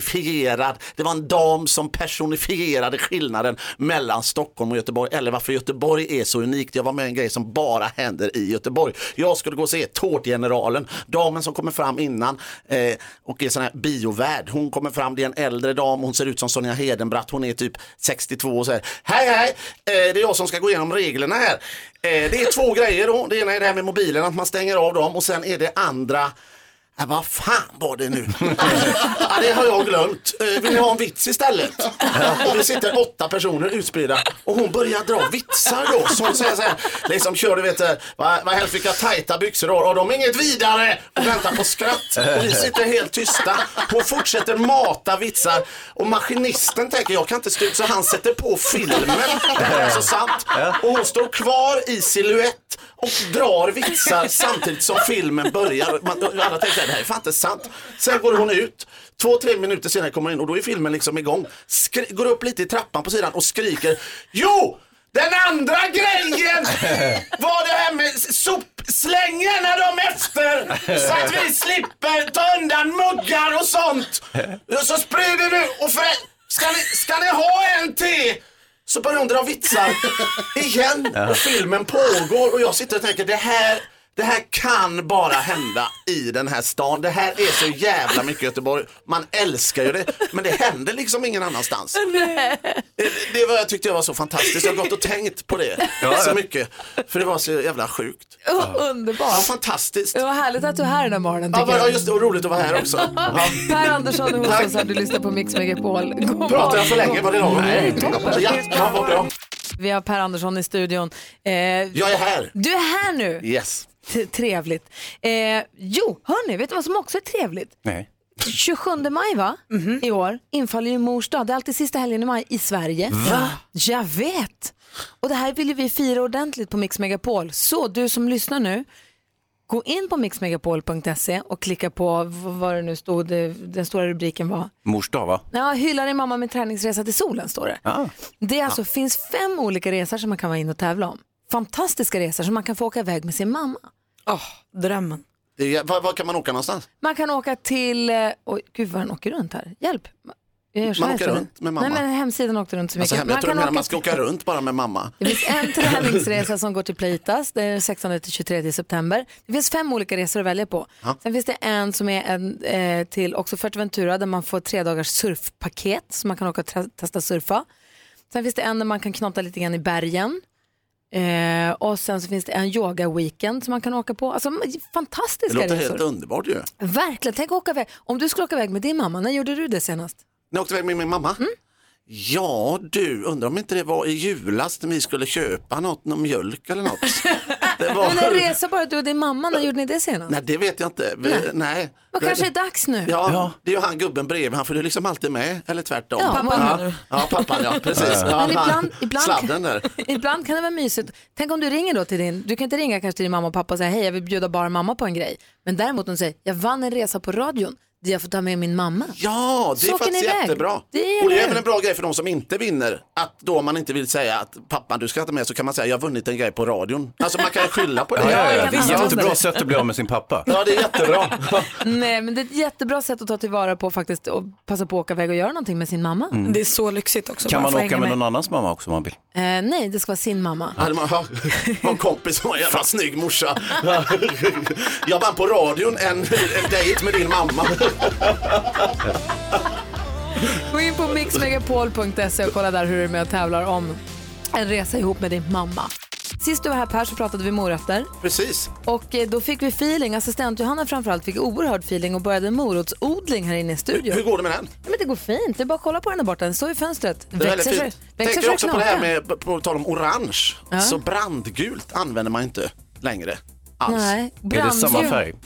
S7: personifierad. Det var en dam som personifierade skillnaden mellan Stockholm och Göteborg eller varför Göteborg är så unikt. Jag var med i en grej som bara händer i Göteborg. Jag skulle gå och se Tårtgeneralen, damen som kommer fram innan eh, och är sån här biovärd. Hon kommer fram, det är en äldre dam, hon ser ut som Sonja Hedenbratt, hon är typ 62 och säger Hej hej, eh, det är jag som ska gå igenom reglerna här. Eh, det är två grejer då, det ena är det här med mobilen, att man stänger av dem och sen är det andra Ja, vad fan var det nu? ja, det har jag glömt. Eh, Vill ni ha en vits istället? Och det sitter åtta personer utspridda och hon börjar dra vitsar då. Så hon säger så här, liksom kör du vet, eh, vad vad helst vilka tajta byxor du har och de är inget vidare och väntar på skratt. Och vi sitter helt tysta. Hon fortsätter mata vitsar och maskinisten tänker jag kan inte stå ut så han sätter på filmen. Det här är så sant. Och hon står kvar i siluett och drar vitsar samtidigt som filmen börjar. Man, och alla tänker det här är fan inte sant. Sen går hon ut, två, tre minuter senare kommer hon in och då är filmen liksom igång. Skri- går upp lite i trappan på sidan och skriker Jo! Den andra grejen var det här med sopslängen när de är efter så att vi slipper ta undan muggar och sånt. Och så sprider du och för, ska, ni, ska ni ha en till? Så börjar hon dra vitsar igen och filmen pågår och jag sitter och tänker det här, det här kan bara hända i den här stan. Det här är så jävla mycket Göteborg. Man älskar ju det men det händer liksom ingen annanstans. Det, det var, jag tyckte jag var så fantastiskt. Jag har gått och tänkt på det
S1: Ja, ja.
S7: så mycket. För det var så jävla sjukt.
S1: Oh, underbart.
S7: Ja, fantastiskt.
S1: Det var härligt att du är här den här morgonen.
S7: Ja,
S1: tycker
S7: vad-
S1: jag.
S7: ja, just det, och roligt att vara här också. Ja.
S1: Per Andersson är hos oss här, du lyssnar på Mix Megapol. God
S7: Pratar
S1: morgon.
S7: jag för länge? Var det lagom?
S1: Nej, det är toppen.
S7: Ja, ja, vad bra.
S1: Vi har Per Andersson i studion. Eh,
S7: Jag är här.
S1: Du är här nu.
S7: Yes.
S1: T- Trevligt. Eh, jo, hörni, vet du vad som också är trevligt?
S5: Nej.
S1: 27 maj va? i år infaller ju mors dag. Det är alltid sista helgen i maj i Sverige.
S4: Va?
S1: Jag vet! Och det här vill ju vi fira ordentligt på Mix Megapol. Så du som lyssnar nu, gå in på mixmegapol.se och klicka på v- vad det nu stod, eh, den stora rubriken var.
S5: Mors dag, va?
S1: Ja, hylla din mamma med träningsresa till solen står det.
S5: Ja.
S1: Det är alltså, finns fem olika resor som man kan vara inne och tävla om. Fantastiska resor som man kan få åka iväg med sin mamma.
S3: Åh, drömmen.
S7: Det är- Var, var kan man åka någonstans?
S1: Man kan åka till, eh, oj gud vad den åker runt här, hjälp. Jag gör så
S7: Man
S1: här
S7: åker
S1: istället.
S7: runt med mamma.
S1: Nej men hemsidan åkte runt så mycket.
S7: Alltså, hem, jag tror du menar man
S1: till-
S7: ska åka runt bara med mamma.
S1: Det finns en träningsresa som går till Pleitas, det är 16 till 23 september. Det finns fem olika resor att välja på.
S7: Ja.
S1: Sen finns det en som är en, eh, till också Fuerteventura där man får tre dagars surfpaket så man kan åka och tra- testa surfa. Sen finns det en där man kan knotta lite grann i bergen. Eh, och sen så finns det en yoga-weekend som man kan åka på. Alltså
S7: Det
S1: fantastiska
S7: låter
S1: resor.
S7: helt underbart ju.
S1: Verkligen, tänk åka iväg. Om du skulle åka iväg med din mamma, när gjorde du det senast?
S7: Ni åkte iväg med min mamma?
S1: Mm.
S7: Ja du, undrar om inte det var i julas när vi skulle köpa något, någon mjölk eller något. Det var...
S1: Men en resa bara du och din mamma, när gjorde ni det senast?
S7: Nej, det vet jag inte. Vi, nej.
S1: Vad kanske är dags nu?
S7: Ja, det är ju han gubben bredvid, han följer liksom alltid med, eller tvärtom.
S1: Ja, pappan menar
S7: ja,
S1: du?
S7: ja pappan ja, precis.
S1: Men
S7: Ja, han-
S1: ibland- ibland-
S7: Sladden där.
S1: Ibland kan det vara mysigt. Tänk om du ringer då till din, du kan inte ringa kanske till din mamma och pappa och säga hej jag vill bjuda bara mamma på en grej. Men däremot hon säger jag vann en resa på radion där jag får ta med min mamma.
S7: Ja, det
S1: Så
S7: är
S1: åker
S7: faktiskt
S1: ni iväg.
S7: jättebra.
S1: Det är
S7: och det
S1: det.
S7: är även en bra grej för de som inte vinner. Att då man inte vill säga att pappan du ska inte med så kan man säga jag har vunnit en grej på radion. Alltså man kan ju skylla på det.
S5: Ja, ja, ja. Det är jättebra sätt att bli av med sin pappa.
S7: Ja, det är jättebra.
S1: Nej men det är ett jättebra sätt att ta tillvara på faktiskt och passa på att åka iväg och göra någonting med sin mamma.
S5: Mm. Det är
S3: så lyxigt också.
S5: Kan man åka med någon annans mamma också om man vill?
S1: Eh, nej det ska vara sin mamma.
S7: Hade man ha- ha en kompis som var en jävla snygg morsa. Jag vann på radion en, en dejt med din mamma.
S1: Gå in på mixmegapol.se och kolla där hur du är med och tävlar om en resa ihop med din mamma. Sist du var här Per så pratade vi morötter.
S7: Precis.
S1: Och eh, då fick vi feeling, assistent Johanna framförallt fick oerhörd feeling och började en morotsodling här inne i studion.
S7: Hur går det med den?
S1: Ja, men det går fint, det är bara att kolla på den där borta, den står i fönstret.
S7: Det är väldigt
S1: så-
S7: fint.
S1: växer
S7: Tänker
S1: så
S7: också på det här
S1: knakar.
S7: med, på tal om orange,
S1: Ja.
S7: så brandgult använder man inte längre. Alls.
S3: Nej,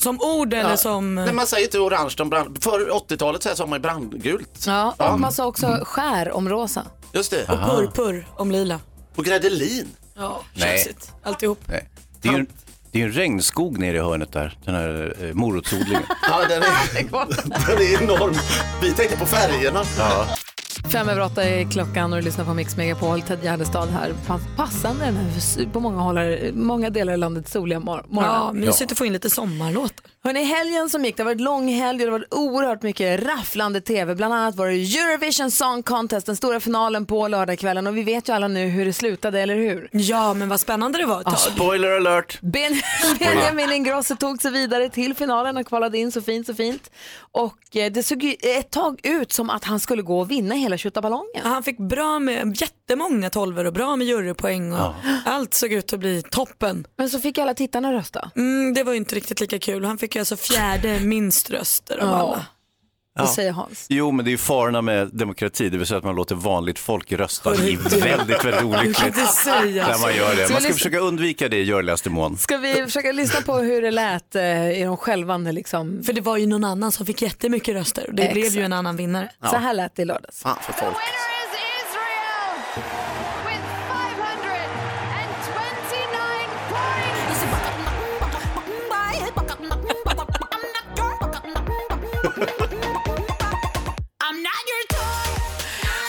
S3: Som ord eller
S7: Ja.
S3: som... eh,
S7: Nej, alltså, man säger inte orange om brand. För 80-talet så här sa man ju brandgult.
S1: Ja, och
S7: Ja.
S1: man sa också skär om rosa.
S7: Just det.
S5: Och Aha.
S3: purpur om lila.
S7: Och grädelin.
S3: Ja,
S5: Nej.
S3: tjusigt. Alltihop.
S5: Nej. Det är ju en, det är ju en regnskog nere i hörnet där, den här eh, morotsodlingen.
S7: Ja, den är, den är enorm. Vi tänkte på färgerna.
S5: Ja.
S1: Fem över åtta är klockan och du lyssnar på Mix Megapol, Ted Gärdestad här. Pass- Passande den här, på många, hållar, många delar av landet soliga mor- morgonen.
S3: Ja, mysigt att få in lite sommarlåtar.
S1: Hörrni, helgen som gick, det har varit lång helg och det har varit oerhört mycket rafflande tv. Bland annat var det Eurovision Song Contest, den stora finalen på lördagskvällen och vi vet ju alla nu hur det slutade, eller hur?
S3: Ja, men vad spännande det var ett tag.
S5: Spoiler alert!
S1: Ben- Benjamin Ingrosso tog sig vidare till finalen och kvalade in så fint, så fint. Och eh, det såg ju ett tag ut som att han skulle gå och vinna hela tjottaballongen.
S3: Han fick bra med jättemånga tolvor och bra med jurypoäng och
S1: Ja.
S3: allt såg ut att bli toppen.
S1: Men så fick alla tittarna rösta.
S3: Mm, det var ju inte riktigt lika kul. Han fick ju alltså fjärde minst röster av
S1: Ja.
S3: alla.
S5: Ja. säger
S1: Hans.
S5: Jo, men det är ju farorna med demokrati, det vill säga att man låter vanligt folk rösta. Det
S1: Hörru,
S5: är väldigt, väldigt
S1: du kan
S5: olyckligt
S1: inte säga
S5: när man
S1: så.
S5: gör
S1: Ska vi
S5: det. Man ska
S1: lyssna-
S5: försöka undvika det i görligaste mån.
S1: Ska vi försöka lyssna på hur det lät eh, i de självande liksom?
S3: För det var ju någon annan som fick jättemycket röster och det blev ju en annan vinnare.
S1: Ja. Så här lät det i lördags.
S7: Fan för folk.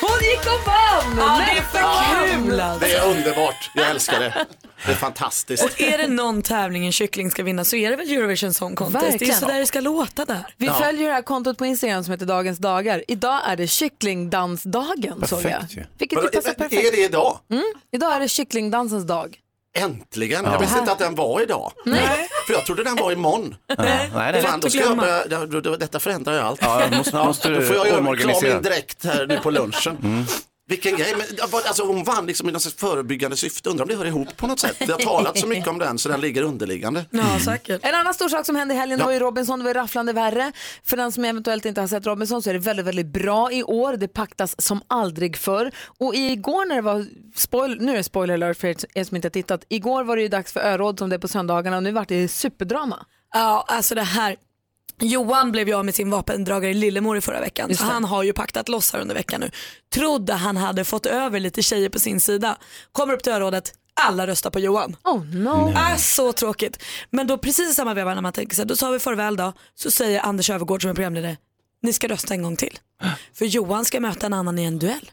S1: Hon gick och vann!
S3: Ja, det är för kul alltså.
S7: Det är underbart. Jag älskar det. Det är fantastiskt.
S3: Och är det någon tävling en kyckling ska vinna så är det väl Eurovision Song Contest. Det är ju
S1: Verkligen.
S3: sådär det ska låta där.
S1: Vi följer det här kontot på Instagram som heter Dagens dagar. Idag är det kycklingdansdagen såg jag.
S7: Perfekt ju.
S1: Vilket ju
S7: Men-
S1: passar
S7: men
S1: perfekt.
S7: Är det idag?
S1: Mm. Idag är det kycklingdansens dag.
S7: Äntligen.
S1: Ja.
S7: Jag visste inte att den var idag. Nej. För jag trodde den var imorgon.
S5: Nej, det är lätt
S7: Fan, då
S5: att
S7: ska jag
S5: glömma.
S7: börja, då- då- då- detta förändrar ju allt.
S5: Ja, måste- måste
S7: då får jag göra klar
S5: omorganisera. Mm.
S7: min dräkt här nu på lunchen. Vilken grej, men jag bara- alltså hon vann liksom i något slags förebyggande syfte, undrar om det hör ihop på något sätt. Det har talat så mycket om den så den ligger underliggande.
S3: Ja, säkert.
S1: En annan stor sak som hände i helgen
S7: Ja.
S1: var ju Robinson, det var ju rafflande värre. För den som eventuellt inte har sett Robinson så är det väldigt, väldigt bra i år. Det paktas som aldrig förr. Och igår när det var, spoil, nu är det spoiler alert för er som inte har tittat, igår var det ju dags för öråd som det är på söndagarna och nu vart det superdrama.
S3: Ja, alltså det här. Johan blev ju av med sin vapendragare Lillemor i förra veckan.
S1: Just
S3: Så
S1: det.
S3: han har ju paktat loss här under veckan nu. Trodde han hade fått över lite tjejer på sin sida. Kommer upp till örådet, alla röstar på Johan.
S1: Oh no.
S3: Äh, så tråkigt. Men då precis i samma veva när man tänker så här, då tar vi farväl då. Så säger Anders Övergård som är programledare, ni ska rösta en gång till.
S1: Ah.
S3: För Johan ska möta en annan i en duell.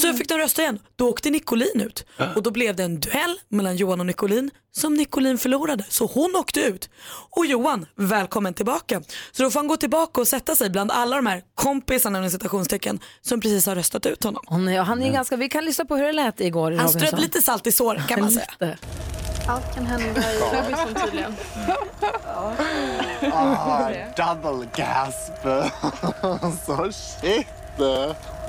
S3: Så fick de rösta igen. Då åkte Nicolin ut. Och då blev det en duell mellan Johan och Nicolin som Nicolin förlorade. Så hon åkte ut. Och Johan, välkommen tillbaka. Så då får han gå tillbaka och sätta sig bland alla de här kompisarna inom citationstecken som precis har röstat ut honom.
S1: Åh nej, och han är ju ganska, vi kan lyssna på hur det lät igår i
S3: Han
S1: Robinson.
S3: strödde lite salt i såret kan man säga.
S1: Lite.
S11: Allt kan hända i Robinson tydligen.
S22: Ah, double gasp. so shit.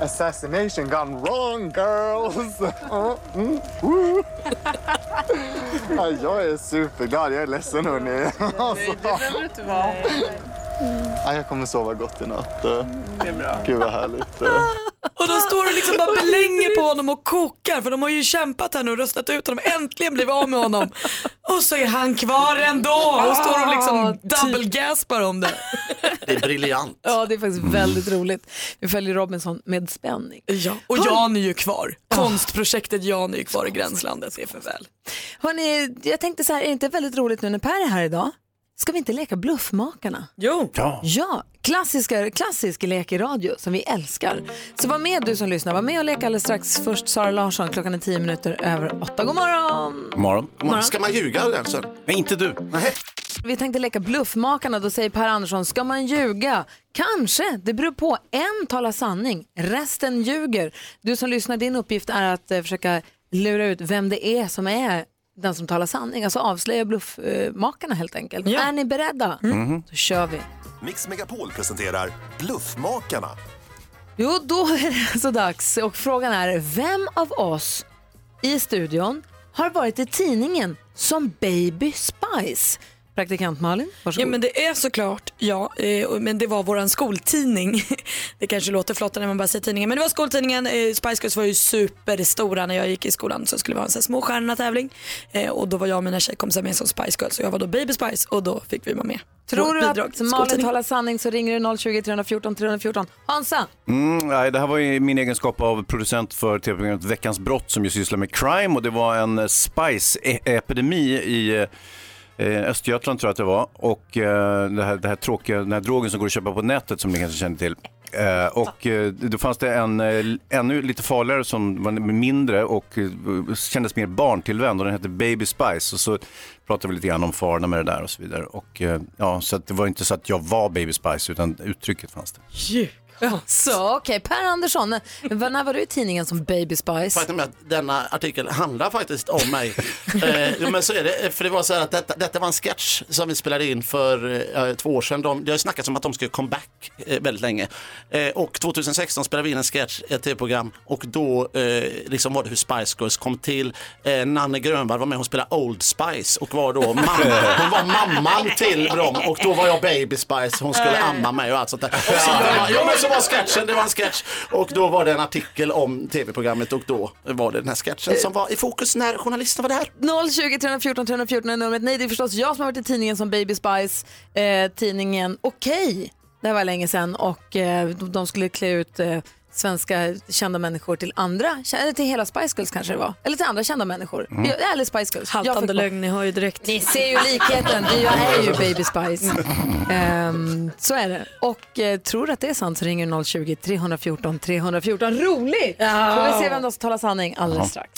S22: Assassination gone wrong, girls. Mm, mm, woo. Ah, jag är superglad. Jag är ledsen, hörni. Alltså.
S11: behöver inte vara.
S22: Ah, jag kommer sova gott i natt.
S11: Det är bra.
S22: Gud, vad härligt.
S3: Och de står och liksom bara blänger på honom och kokar för de har ju kämpat här nu och röstat ut honom. Äntligen blivit av med honom. Och så är han kvar ändå och står och
S1: Ah,
S3: liksom
S1: typ.
S3: double-gaspar om det.
S7: Det är briljant.
S1: Ja, det är faktiskt väldigt roligt. Vi följer Robinson med spänning.
S3: Ja, och Jan är ju kvar.
S1: Ah.
S3: Konstprojektet Jan är ju kvar i gränslandet, det är för väl.
S1: Hörrni, jag tänkte så här, är det inte väldigt roligt nu när Per är här idag? Ska vi inte leka Bluffmakarna?
S3: Jo.
S1: Ja. klassiska, klassisk lek i radio som vi älskar. Så var med du som lyssnar, var med och lek alldeles strax. Först Sara Larsson, klockan är tio minuter över åtta. God morgon!
S5: Morgon.
S1: Morgon. Ska man ljuga,
S7: alltså?
S5: Nej, inte du. Nej.
S1: Vi tänkte leka Bluffmakarna, då säger Per Andersson, ska man ljuga? Kanske, det beror på. En talar sanning, resten ljuger. Du som lyssnar, din uppgift är att eh, försöka lura ut vem det är som är den som talar sanning, alltså avslöja bluffmakarna helt enkelt.
S13: Ja.
S1: Är ni beredda?
S13: Mhm.
S1: Då kör vi.
S13: Mix Megapol presenterar Bluffmakarna.
S1: Jo, då är det alltså dags och frågan är, vem av oss i studion har varit i tidningen som Baby Spice? Praktikant Malin, varsågod.
S3: Ja men det är såklart ja, eh, och- men det var våran skoltidning. Det kanske låter flott när man bara säger tidningen men det var skoltidningen. Eh, Spice Girls var ju superstora när jag gick i skolan så skulle vi ha en sån här småstjärnorna-tävling Eh, och då var jag och mina tjejkompisar med som Spice Girls och jag var då Baby Spice och då fick vi vara med.
S1: Tror
S3: Vårt
S1: du
S3: bidrag
S1: att
S3: till
S1: Malin
S3: skoltidningen.
S1: talar sanning så ringer du 020 314 314. Hansa,
S5: Mm, nej, det här var i min egenskap av producent för tv-programmet Veckans brott som ju sysslar med crime och det var en eh, spice-epidemi i eh, Östergötland tror jag att det var och eh, det här, det här tråkiga, den här drogen som går att köpa på nätet som ni kanske känner till. Eh, och eh, då fanns det en eh, ännu lite farligare som var mindre och eh, kändes mer barntillvänd och den hette Baby Spice och så pratade vi lite grann om farorna med det där och så vidare. Och, eh, ja, så att det var inte så att jag var Baby Spice utan uttrycket fanns det.
S1: Så okej, Per Andersson, när när var du i tidningen som Baby Spice?
S7: Faktum är att denna artikel handlar faktiskt om mig. eh, jo, men så är det, för det var så här att detta, detta var en sketch som vi spelade in för eh, två år sedan. De, det har ju snackats om att de skulle comeback eh, väldigt länge. Eh, och 2016 spelade vi in en sketch, ett tv-program och då eh, liksom var det hur Spice Girls kom till. Eh, Nanne Grönvall var med, hon spelade Old Spice och var då mamma, hon var mamman till dem och då var jag Baby Spice, hon skulle amma mig och allt sånt där. Och så, ja, men så var sketchen, det var en sketch och då var det en artikel om tv-programmet och då var det den här sketchen som var i fokus när journalisterna var där.
S1: 020 314 314 är numret. Nej, det är förstås jag som har varit i tidningen som Baby Spice. Eh, tidningen Okej, det här var länge sedan och eh, de de skulle klä ut eh, svenska kända människor till andra, eller till hela Spice Girls kanske det var, eller till andra kända människor.
S3: Mm.
S1: Jag, eller Spice Girls. Jag
S3: Haltande
S1: fick-
S3: lögn, ni hör ju direkt.
S1: Ni ser ju likheten, det- jag är ju Baby Spice. Ehm, så är det. Och eh, tror du att det är sant så ringer 020-314 314. Roligt! Får vi se vem då som talar sanning alldeles
S23: Ja.
S1: strax.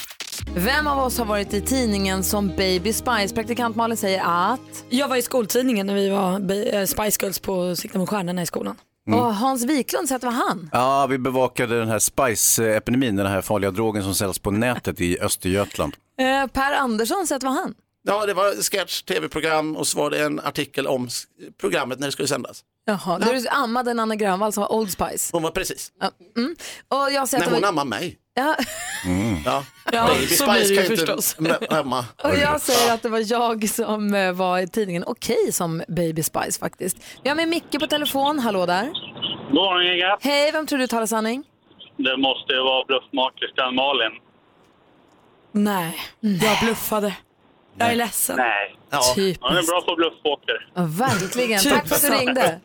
S1: Vem av oss har varit i tidningen som Baby Spice? Praktikant Malin säger att...
S3: Jag var i skoltidningen när vi var Ba- eh, Spice Girls på Sikta mot stjärnorna i skolan.
S5: Mm.
S1: Och Hans Wiklund säger att det var han.
S5: Ja, vi bevakade den här spice-epidemin, den här farliga drogen som säljs på nätet i Östergötland.
S1: Eh, per Andersson säger att det var han.
S7: Ja, det var sketch, tv-program och så var det en artikel om s- programmet när det skulle sändas.
S1: Jaha, då är du ammade en Anna Grönvall som var Old Spice.
S7: Hon var precis.
S1: Ja, mm. Och jag säger
S7: När
S1: att det
S7: hon
S1: var...
S7: ammade mig.
S1: Ja,
S7: Ja.
S1: Ja,
S7: Baby
S1: så
S7: Spice
S1: blir det ju
S7: kan ju inte
S1: förstås.
S7: m- amma.
S1: Och jag säger att det var jag som eh, var i tidningen Okej som Baby Spice faktiskt. Vi har med Micke på telefon, hallå där.
S24: God morgon gänget.
S1: Hej, vem tror du talar sanning?
S24: Det måste ju vara bluffmakerskan Malin.
S3: Nej, jag bluffade. Jag är ledsen.
S6: Nej.
S3: Ja. Typiskt.
S6: Han är bra på bluffpoker.
S1: Ja, verkligen. Tack för att du ringde.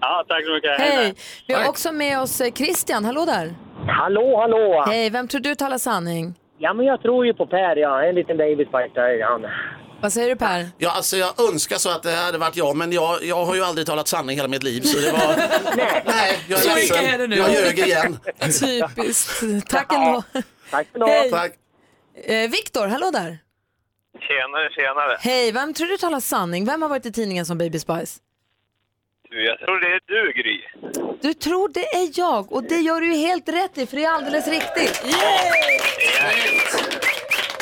S6: Ja, tack så mycket.
S1: Hej. Vi har också med oss eh, Christian. Hallå där.
S25: Hallå, hallå!
S1: Hej, vem tror du talar sanning?
S25: Ja, men jag tror ju på Per, ja. En liten babyfighter är han.
S1: Vad säger du Per?
S7: Ja, alltså jag önskar så att det hade varit jag, men jag, jag har ju aldrig talat sanning hela mitt liv. Så det var... Nej, jag
S1: Så
S7: är
S1: gick jag
S7: ledsen.
S1: här nu.
S7: Jag ljög igen.
S1: Typiskt. Tack ändå.
S25: Tack
S1: Hej.
S7: Tack.
S1: Eh, Viktor, hallå där.
S8: Tjenare, tjenare.
S1: Hej, vem tror du talar sanning? Vem har varit i tidningen som Baby Spice?
S8: Du, jag tror det är du, Gry.
S1: Du tror det är jag och det gör du ju helt rätt i för det är alldeles riktigt.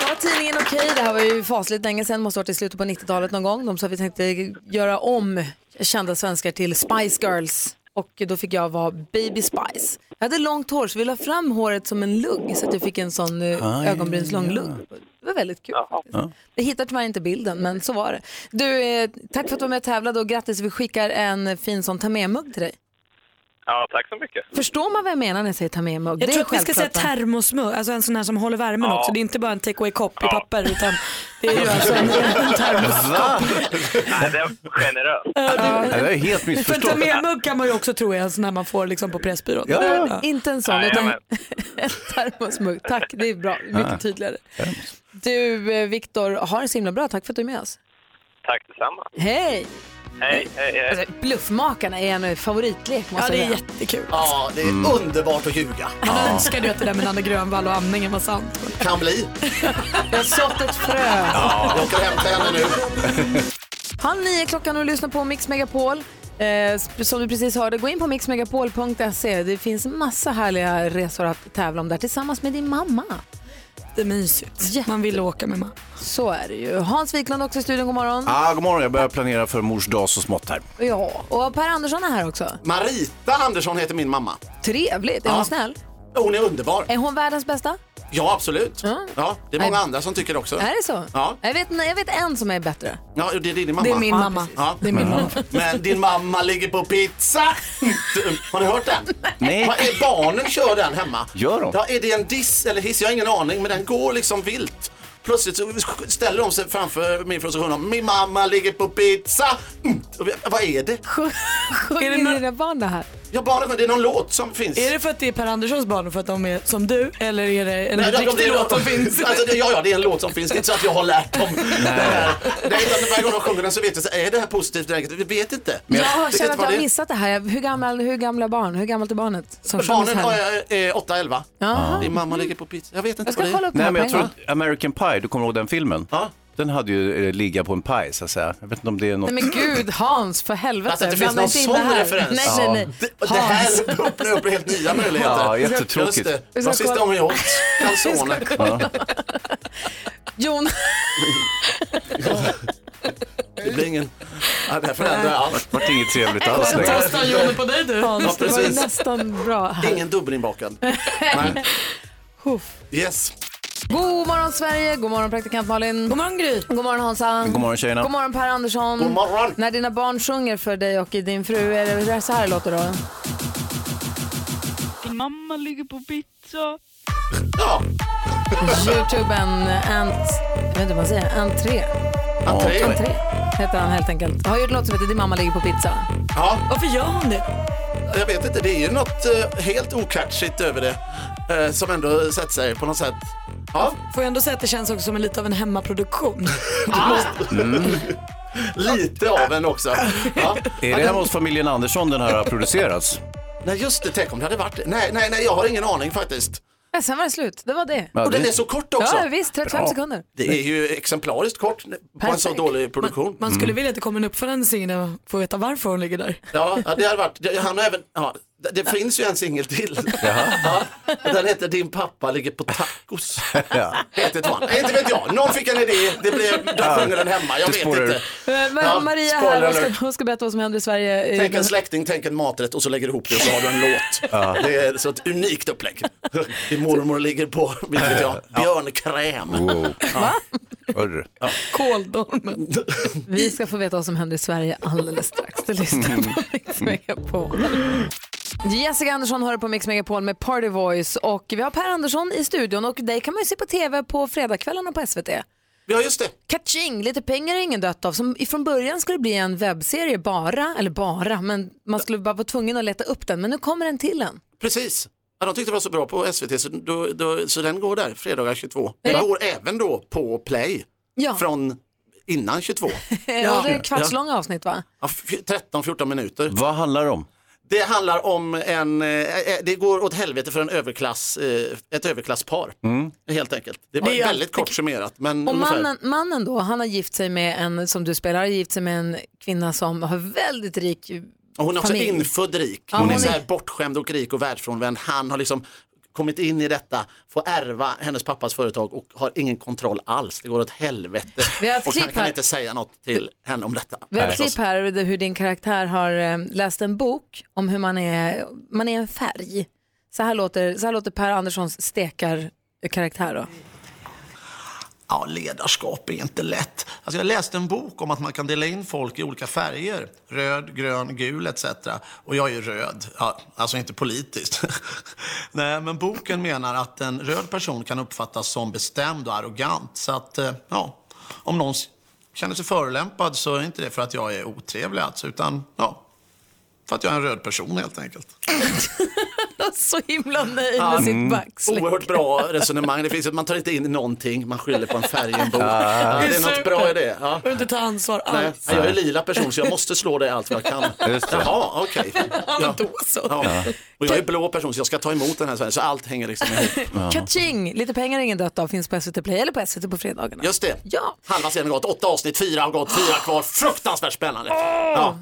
S1: Var tidningen Okej? Det här var ju fasligt länge sedan, måste ha varit i slutet på 90-talet någon gång. De sa att vi tänkte göra om kända svenskar till Spice Girls och då fick jag vara Baby Spice. Jag hade långt hår så vi la fram håret som en lugg så att jag fick en sån
S4: Ah,
S1: eh,
S4: ja,
S1: ögonbrynslång
S4: ja.
S1: lugg. Det var väldigt kul. Jag hittar tyvärr inte bilden, men så var det. Du, eh, tack för att du var med och tävlade och grattis, vi skickar en fin sån ta med-mugg till dig.
S8: Ja, tack så mycket.
S1: Förstår man vad jag menar när jag säger ta med mugg?
S3: Jag
S1: Det
S3: tror
S1: är
S3: att vi ska säga
S1: självklart, va?
S3: termosmugg, alltså en sån här som håller värmen
S1: Ja.
S3: också. Det är inte bara en take away-kopp i
S1: Ja.
S3: papper utan det är ju alltså en, en termoskopp.
S8: Nej, det var generöst.
S5: Det är helt
S3: För ta
S5: missförstått.
S3: med mugg kan man ju också tro är en sån här man får liksom på Pressbyrån.
S5: Ja, ja, ja.
S1: Inte en sån, utan en
S3: Jajamän.
S1: termosmugg. Tack, det är bra.
S3: Ja.
S1: Mycket tydligare. Du, eh, Viktor, ha det så himla bra. Tack för att du är med oss.
S8: Tack detsamma.
S1: Hej!
S8: Hej, hej, hej.
S1: Alltså, bluffmakarna är en favoritlek, måste jag säga.
S3: jättekul.
S7: Ja, det är
S1: Mm.
S7: underbart att ljuga.
S3: Jag önskar du att det där med Nanne Grönvall och amningen var sant.
S7: Kan bli.
S1: Jag har sått ett frö.
S7: Ja, jag åker och hämtar henne nu.
S1: Halv nio är klockan och lyssna på Mix Megapol. Eh, som du precis hörde, gå in på mixmegapol.se. Det finns massa härliga resor att tävla om där tillsammans med din mamma.
S3: Det är mysigt. Man vill åka med mamma.
S1: Så är det ju. Hans Wiklund också i studion, god morgon.
S5: Ah, god morgon, jag börjar planera för mors dag så smått här.
S1: Ja, och Per Andersson är här också.
S7: Marita Andersson heter min mamma.
S1: Trevligt, är
S7: Ja.
S1: hon snäll?
S7: Hon är underbar.
S1: Är hon världens bästa?
S7: Ja, absolut. Ja, det är många
S1: Nej.
S7: andra som tycker också.
S1: Är det så?
S7: Ja.
S1: Jag, vet, jag vet en som är bättre.
S7: Ja, det är din mamma.
S1: Det är min
S7: Ja,
S1: mamma.
S7: precis. Ja. Men din mamma ligger på pizza. Har ni hört den?
S5: Nej.
S7: Vad är barnen kör den hemma.
S5: Gör de?
S7: Ja, är det en diss eller hiss? Jag har ingen aning, men den går liksom vilt. Plötsligt så ställer de sig framför min fru och sjunger de, min mamma ligger på pizza. Mm. Och vi- Vad är det?
S1: Sjunger
S3: någon-
S1: dina barn det här?
S7: Ja, barnen, det är någon låt som finns.
S3: Är det för att det är Per Anderssons barn och för att de är som du eller är det en
S7: Nej, ja,
S3: riktig
S7: det är
S3: låt som finns?
S7: Alltså, det- ja, ja, det är en låt som finns. Det är inte så att jag har lärt dem det här. Nej, utan varje gång de sjunger den så vet jag, så här, är det här positivt eller negativt? Vi vet inte.
S1: Jag
S7: Vet inte
S1: känner att
S7: vad
S1: jag
S7: det
S1: har
S7: är.
S1: missat det här. Hur, gammal, hur gamla barn? Hur gammalt är barnet? Som sjöng
S7: Barnen
S1: så här?
S7: har eh, 8-11.
S1: Jaha.
S7: Din mamma ligger på pizza. Jag vet inte
S1: Jag ska
S7: vad det är.
S1: kolla upp det
S5: Nej,
S1: här
S5: men jag
S1: på en
S5: tror
S1: gång.
S5: att American Pie, du kommer ihåg den filmen? Den hade ju eh, ligga på en paj så att säga. Jag vet inte om det är något...
S1: Nej men gud Hans, för helvete.
S7: Att det inte finns
S1: Blanda
S7: någon
S1: in
S7: sån
S1: det här.
S7: referens.
S1: Nej,
S5: Ja.
S1: nej, nej.
S7: Det här öppnar upp helt nya möjligheter.
S5: Ja, jättetråkigt.
S7: Just det.
S1: Vi
S7: Det
S1: ska
S7: var sista
S1: kolla.
S7: gången jag åt calzone.
S1: Jon,
S7: Det blir ingen... Ja, det här förändrar allt.
S5: Det vart inget trevligt alls längre.
S3: Johnny på dig du.
S1: Hans,
S7: Ja,
S1: det var ju
S7: precis.
S1: nästan bra här.
S7: Ingen dubbelinbakad. Nej. Yes.
S1: God morgon Sverige, god morgon praktikant Malin. God
S3: morgon Gry.
S1: God morgon Hansa.
S5: God morgon, tjejerna.
S1: God morgon Per Andersson.
S5: God morgon.
S1: När dina barn sjunger för dig och din fru, är det så här det låter då?
S10: Din mamma ligger på pizza.
S1: Youtuben Ant... Jag vet inte vad man säger. Entré.
S7: Entré.
S1: Entré heter han helt enkelt. Har gjort en låt som heter Din mamma ligger på pizza.
S7: Ja.
S3: Varför gör hon det?
S7: Jag vet inte, det är ju något eh, helt okatchigt över det. eh, Som ändå sätter sig på något sätt. Ja.
S3: Får jag ändå säga att det känns också som en lite av en hemmaproduktion.
S7: Lite av en också. Ja.
S5: Är det hemma hos familjen Andersson den här har producerats?
S7: Nej just det, tänk om det hade varit det. Nej, nej, nej, jag har ingen aning faktiskt.
S1: Ja, sen var det slut. Det var det.
S7: Och den är så kort också.
S1: Ja, visst. 35
S7: Bra.
S1: sekunder.
S7: Det är ju exemplariskt kort på en så
S3: Perfekt.
S7: dålig produktion.
S3: Man skulle vilja att det kom en uppföljande singel och få veta varför hon ligger där.
S7: Ja, ja, det hade varit, det- han har även, ja, det, det finns ju en singel till. Ja, den heter Din pappa ligger på tacos. Heter det, Nej, inte vet jag, någon fick en idé, det blev, de
S5: Ja.
S7: sjunger den hemma, jag
S5: Det
S7: vet
S5: spårar
S7: inte.
S5: ur.
S1: Eh, Men
S7: Ja,
S1: Maria
S7: spoiler
S1: här, hon ska,
S7: alert.
S1: hon ska berätta vad som händer i Sverige.
S7: Tänk en släkting, tänk en maträtt och så lägger du ihop det och så har du en låt. Det är så ett unikt upplägg. Din mormor ligger på, vet inte jag, björnkräm.
S5: Wow.
S7: Ja.
S5: Hörru.
S3: Kåldolmen.
S1: Vi ska få veta vad som händer i Sverige alldeles strax. Du lyssnar på Mix Megapol. Jessica Andersson hör på Mix Megapol med Party Voice och vi har Per Andersson i studion och dig kan man ju se på tv på fredagskvällarna på SVT.
S7: Ja, just det.
S1: Kaching, lite pengar är ingen dött av. Som från början skulle det bli en webbserie bara, eller bara, men man skulle bara vara tvungen att leta upp den. Men nu kommer en till en.
S7: Precis. Ja, de tyckte det var så bra på SVT så, då, då, så den går där, fredagar 22. Den går även då på Play
S1: Ja.
S7: från innan 22.
S1: Ja. Det är kvartslånga avsnitt va?
S7: Ja, f- 13-14 minuter.
S5: Vad handlar det om?
S7: Det handlar om en, eh, eh, det går åt helvete för en överklass, eh, ett överklasspar.
S5: Mm.
S7: Helt enkelt. Det är
S1: Det är ju
S7: väldigt kort summerat. Men
S1: Och
S7: ungefär.
S1: mannen, mannen då, han har gift sig med en, som du spelar, har gift sig med en kvinna som har väldigt rik
S7: Och hon är också
S1: familj.
S7: infödd rik.
S1: Ja,
S7: Hon,
S1: hon
S7: är så
S1: är-
S7: här bortskämd och rik och världsfrånvänd. Han har liksom kommit in i detta, får ärva hennes pappas företag och har ingen kontroll alls. Det går åt helvete.
S1: Vi har ett
S7: och han
S1: klipp
S7: kan
S1: här.
S7: inte säga något till henne om detta.
S1: Vi har ett klipp här där hur din karaktär har eh, läst en bok om hur man är, man är en färg. Så här låter, så här låter Per Anderssons stekarkaraktär då.
S7: Ja, ledarskap är inte lätt. Alltså jag läste en bok om att man kan dela in folk i olika färger. Röd, grön, gul etc. Och jag är ju röd. Ja, alltså inte politiskt. Nej, men boken menar att en röd person kan uppfattas som bestämd och arrogant. Så att, eh, ja, om någon s- känner sig förolämpad så är inte det för att jag är otrevlig alltså, utan ja, för att jag är en röd person helt enkelt.
S1: Så himla nöjd med
S7: Ja.
S5: Mm.
S1: sitt backsläck.
S7: Oerhört bra resonemang. Det finns, att man tar inte in någonting, man skyller på en färg i en bok. Ja, det är något bra i det. Ja.
S3: behöver inte ta ansvar
S7: Nej,
S3: alls.
S7: jag är lila person så jag måste slå dig allt vad jag kan.
S5: Just det.
S7: Jaha, okej. Ja.
S3: så.
S7: Ja. Och jag är blå person så jag ska ta emot den här svärden, så allt hänger liksom ihop.
S1: Kaching! Lite pengar är ingen dött av finns på SVT Play eller på SVT på fredagarna.
S7: Just det. Halva scenen har gått, åtta avsnitt, fyra har gått, fyra kvar. Fruktansvärt spännande. Ja.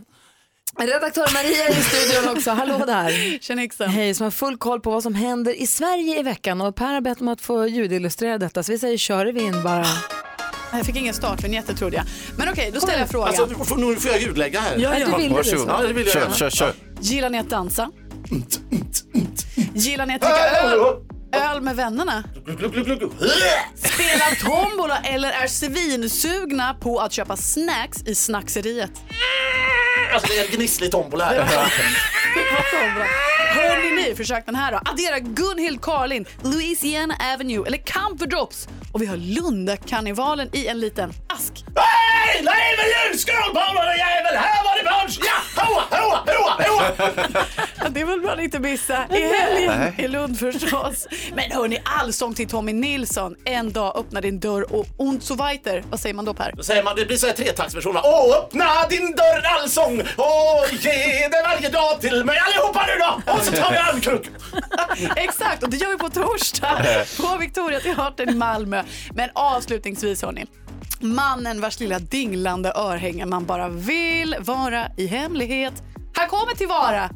S1: Redaktör Maria är i studion också. Hallå där!
S26: Tjena yxan.
S1: Hej, som har full koll på vad som händer i Sverige i veckan. Och Per har bett om att få ljudillustrera detta så vi säger kör vi in bara.
S26: Jag fick ingen startvinjett trodde jag. Men okej, då ställer jag frågan.
S7: Alltså, nu får- nu får jag ljudlägga här.
S26: Ja, ja. Du ville det,
S5: Varsågod.
S26: så. Ja, det ville jag
S5: kör,
S26: gärna.
S5: kör, kör.
S26: Gillar ni att dansa? Gillar ni att dricka öl? Öl med vännerna? Spelar tombola eller är svinsugna på att köpa snacks i snackseriet?
S7: Alltså, det är en gnisslig tombola här.
S26: Hörni ni, försök den här då. Addera Gunhild Karlin, Louisiana Avenue eller Camp for Drops. Och vi har Lundakarnevalen i en liten ask.
S7: Nej, nej, men ljus! Skål på dig jävel! Här var det punch! Ja, hoa, hoa, hoa, hoa!
S26: Ja, det vill man inte missa. I helgen
S7: Nej.
S26: i Lund förstås. Men hörni, allsång till Tommy Nilsson. En dag öppnar din dörr och ont so weiter. Vad säger man då Per?
S7: Då säger man, det blir så här tretaktsversion va? Åh, öppna din dörr allsång och ge det varje dag till mig allihopa nu då! Och så tar vi armkrok!
S26: Exakt, och det gör vi på torsdag på Victoria Teatern i Malmö. Men avslutningsvis hörni. Mannen vars lilla dinglande örhänge man bara vill vara i hemlighet. Han kommer till Vara.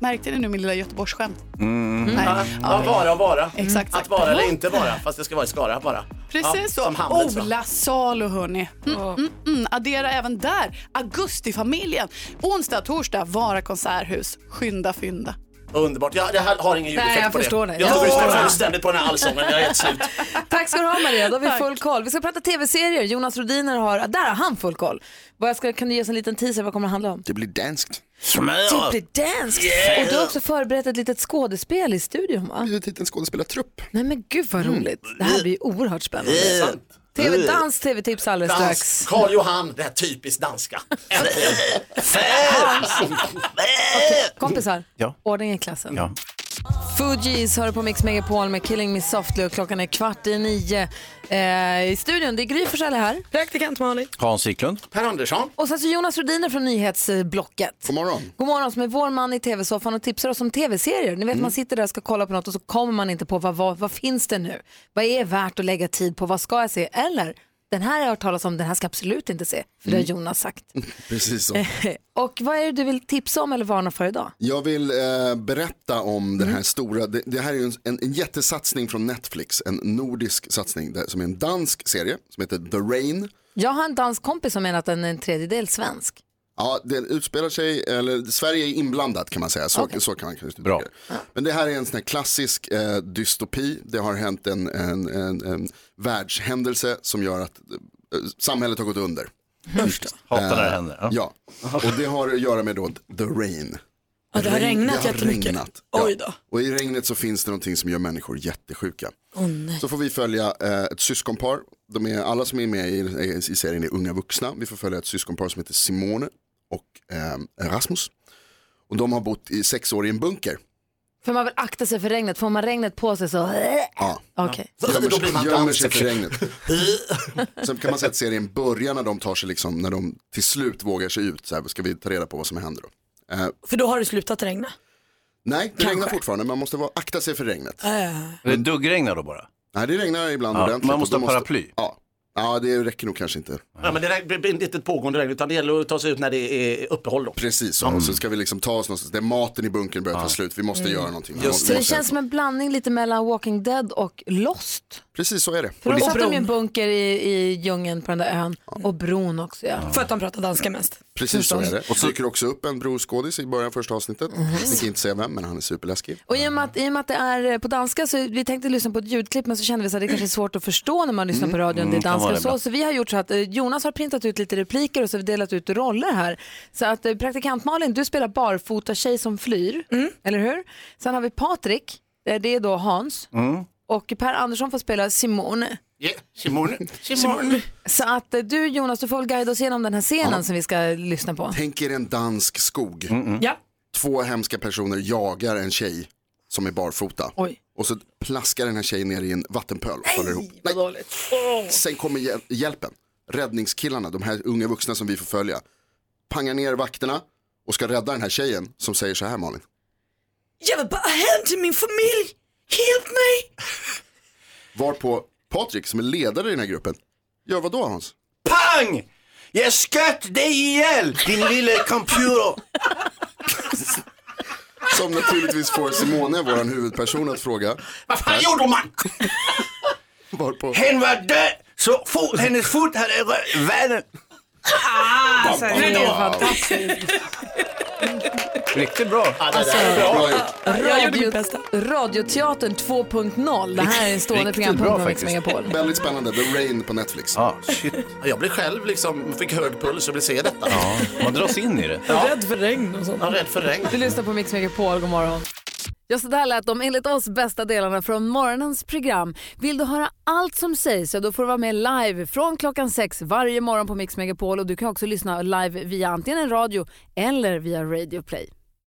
S26: Märkte ni nu min lilla Göteborgsskämt?
S7: Mm.
S26: Nej.
S7: Ja,
S26: Ja.
S7: vara och vara.
S26: Exakt,
S7: Att vara eller inte vara, fast det ska vara i Skara bara. ja,
S26: Precis
S7: Som liksom.
S26: så.
S7: Hamlet sa.
S26: Ola Salo, hörni. Mm, mm, mm. Addera även där. Augustifamiljen. Onsdag, torsdag, Vara konserthus. Skynda, fynda.
S7: Underbart. Jag, jag har ingen ljudeffekt
S26: Nej, jag
S7: på det.
S26: förstår dig.
S7: Jag
S26: Jag
S7: tog
S26: förstår
S7: lyssnade
S26: dig.
S7: fullständigt på den här allsången, jag är helt slut.
S1: Tack ska du ha Maria, då har vi full koll. Vi ska prata tv-serier. Jonas Rodiner har, där har han full koll. Vad jag ska, kan du ge oss en liten teaser, vad kommer det handla om?
S9: Det blir danskt.
S1: Typ blir danskt. Och du har också förberett ett litet skådespel i studion va?
S9: Ett litet skådespelartrupp.
S1: Nej men gud vad
S7: Mm.
S1: roligt. Det här blir ju oerhört spännande. TV-dans, TV-tips alldeles strax.
S7: Dans. Karl Johan, det här typiskt danska.
S1: Kompisar,
S5: Ja.
S1: ordning i klassen.
S5: Ja.
S1: Fugees hör på Mix Megapol med Killing Me Softly och klockan är kvart i nio. Eh, I studion, det är Gry Forssell här.
S3: Praktikant Malin.
S5: Hans Wiklund.
S7: Per Andersson.
S1: Och sen så Jonas Rhodiner från nyhetsblocket.
S9: God morgon.
S1: God morgon som är vår man i tv-soffan och tipsar oss om tv-serier. Ni vet
S5: Mm.
S1: man sitter där och ska kolla på något och så kommer man inte på vad, vad, vad finns det nu? Vad är värt att lägga tid på? Vad ska jag se? Eller den här har jag hört talas om, den här ska jag absolut inte se. För det har
S5: Mm.
S1: Jonas sagt.
S9: Precis
S1: Eh.
S9: så.
S1: och vad är det du vill tipsa om eller varna för idag?
S9: Jag vill eh, berätta om
S5: Mm.
S9: den här stora, det, det här är ju en, en, en jättesatsning från Netflix, en nordisk satsning där, som är en dansk serie som heter The Rain.
S1: Jag har en dansk kompis som menar att den är en tredjedel svensk.
S9: Ja, den utspelar sig, eller Sverige är inblandat kan man säga. Så, så kan man kanske uttrycka det. Men det här är en sån här klassisk eh, dystopi. Det har hänt en, en, en, en världshändelse som gör att eh, samhället har gått under.
S5: Hatar när det
S9: Eh,
S5: händer.
S9: Ja, och det har att göra med då The Rain.
S3: Ja, det har regnat
S9: det har
S3: jättemycket.
S9: Regnat.
S3: Oj då.
S9: Och i regnet så finns det någonting som gör människor jättesjuka.
S3: Åh nej.
S9: Så får vi följa eh, ett syskonpar. De är, alla som är med i, i, i serien är unga vuxna. Vi får följa ett syskonpar som heter Simone och eh, Rasmus. Och de har bott i sex år i en bunker.
S1: För man vill akta sig för regnet. Får man regnet på sig så...
S9: Ja.
S1: Okej.
S9: Gömmer
S1: Då
S9: sig-
S1: blir man inte
S9: Gömmer sig
S1: alls
S9: för regnet. Sen kan man säga att serien börjar när de tar sig liksom, när de till slut vågar sig ut. Så här, ska vi ta reda på vad som händer då? Eh,
S3: För då har det slutat regna.
S9: nej, det regnar fortfarande. Man måste vara, akta sig för regnet.
S3: Äh.
S5: Det duggregnar då bara?
S9: Nej, det regnar ibland
S5: Ja,
S9: ordentligt.
S5: man måste
S9: och då
S5: ha paraply.
S9: Ja. ja, det räcker nog kanske inte.
S7: Ja, men det där blir inte ett pågående regn utan det gäller att ta sig ut när det är uppehåll. Då.
S9: Precis så, och så ska vi liksom ta oss någonstans. Det är maten i bunkern börjar ta slut, vi måste göra någonting.
S3: Mm.
S9: Vi
S1: Så
S9: måste,
S1: det känns som en blandning lite mellan Walking Dead och Lost.
S9: Precis så är det.
S1: För då satt de i en bunker i, i djungeln på den där ön. Och bron också ja.
S3: För att de pratar danska mest.
S9: Precis så är det. Och så dyker också upp en broskådis i början av första avsnittet. Ni kan inte säga vem, men han är superläskig.
S1: Och i och, med att, i och med att det är eh, på danska så vi tänkte lyssna på ett ljudklipp men så kände vi så att det kanske är svårt att förstå när man lyssnar på radion, det
S9: Mm,
S1: är
S9: kan
S1: danska
S9: vara
S1: och så.
S9: ibland.
S1: Så vi har gjort så att eh, Jonas har printat ut lite repliker och så har vi delat ut roller här. Så att eh, praktikant Malin, du spelar barfota tjej som flyr, eller hur? Sen har vi Patrik, eh, det är då Hans.
S5: Mm.
S1: Och Per Andersson får spela Simone.
S7: Yeah, Simone. Simone.
S1: Så att eh, du Jonas, du får väl guida oss igenom den här scenen som vi ska lyssna på.
S9: Tänk er en dansk skog.
S3: Ja.
S9: Två hemska personer jagar en tjej som är barfota. Och så plaskar den här tjejen ner i en vattenpöl och faller ihop. Nej,
S3: dåligt.
S9: Sen kommer hjäl- hjälpen. Räddningskillarna, de här unga vuxna som vi får följa. Pangar ner vakterna och ska rädda den här tjejen som säger så här Malin.
S3: Jag vill bara hem till min familj. Hjälp mig.
S9: Varpå Patrik som är ledare i den här gruppen, gör vad då Hans?
S5: Pang! Jag sköt dig ihjäl, din lille computer.
S9: Som naturligtvis får Simone, vår huvudperson, att fråga.
S5: Vad fan gjorde man?
S9: Varpå...
S5: Hen var död, så fot, hennes fot hade rört världen.
S1: Alltså, det är fantastiskt.
S5: Riktigt bra.
S1: Alltså,
S9: Jag gjorde
S1: radio, radioteatern 2.0, det här är en stående programpunkt på Mix Megapol.
S9: Väldigt spännande, The Rain på Netflix.
S5: Ah, shit.
S7: Jag blev själv liksom, fick hög puls och ville se detta.
S5: Ja, man dras in i det.
S3: Rädd för regn och sånt.
S7: Ja, rädd för regn.
S1: Du lyssnar på Mix Megapol, god morgon. Ja, så där lät de enligt oss bästa delarna från morgonens program. Vill du höra allt som sägs så då får du vara med live från klockan sex varje morgon på Mix Megapol och du kan också lyssna live via antingen en radio eller via Radio Play.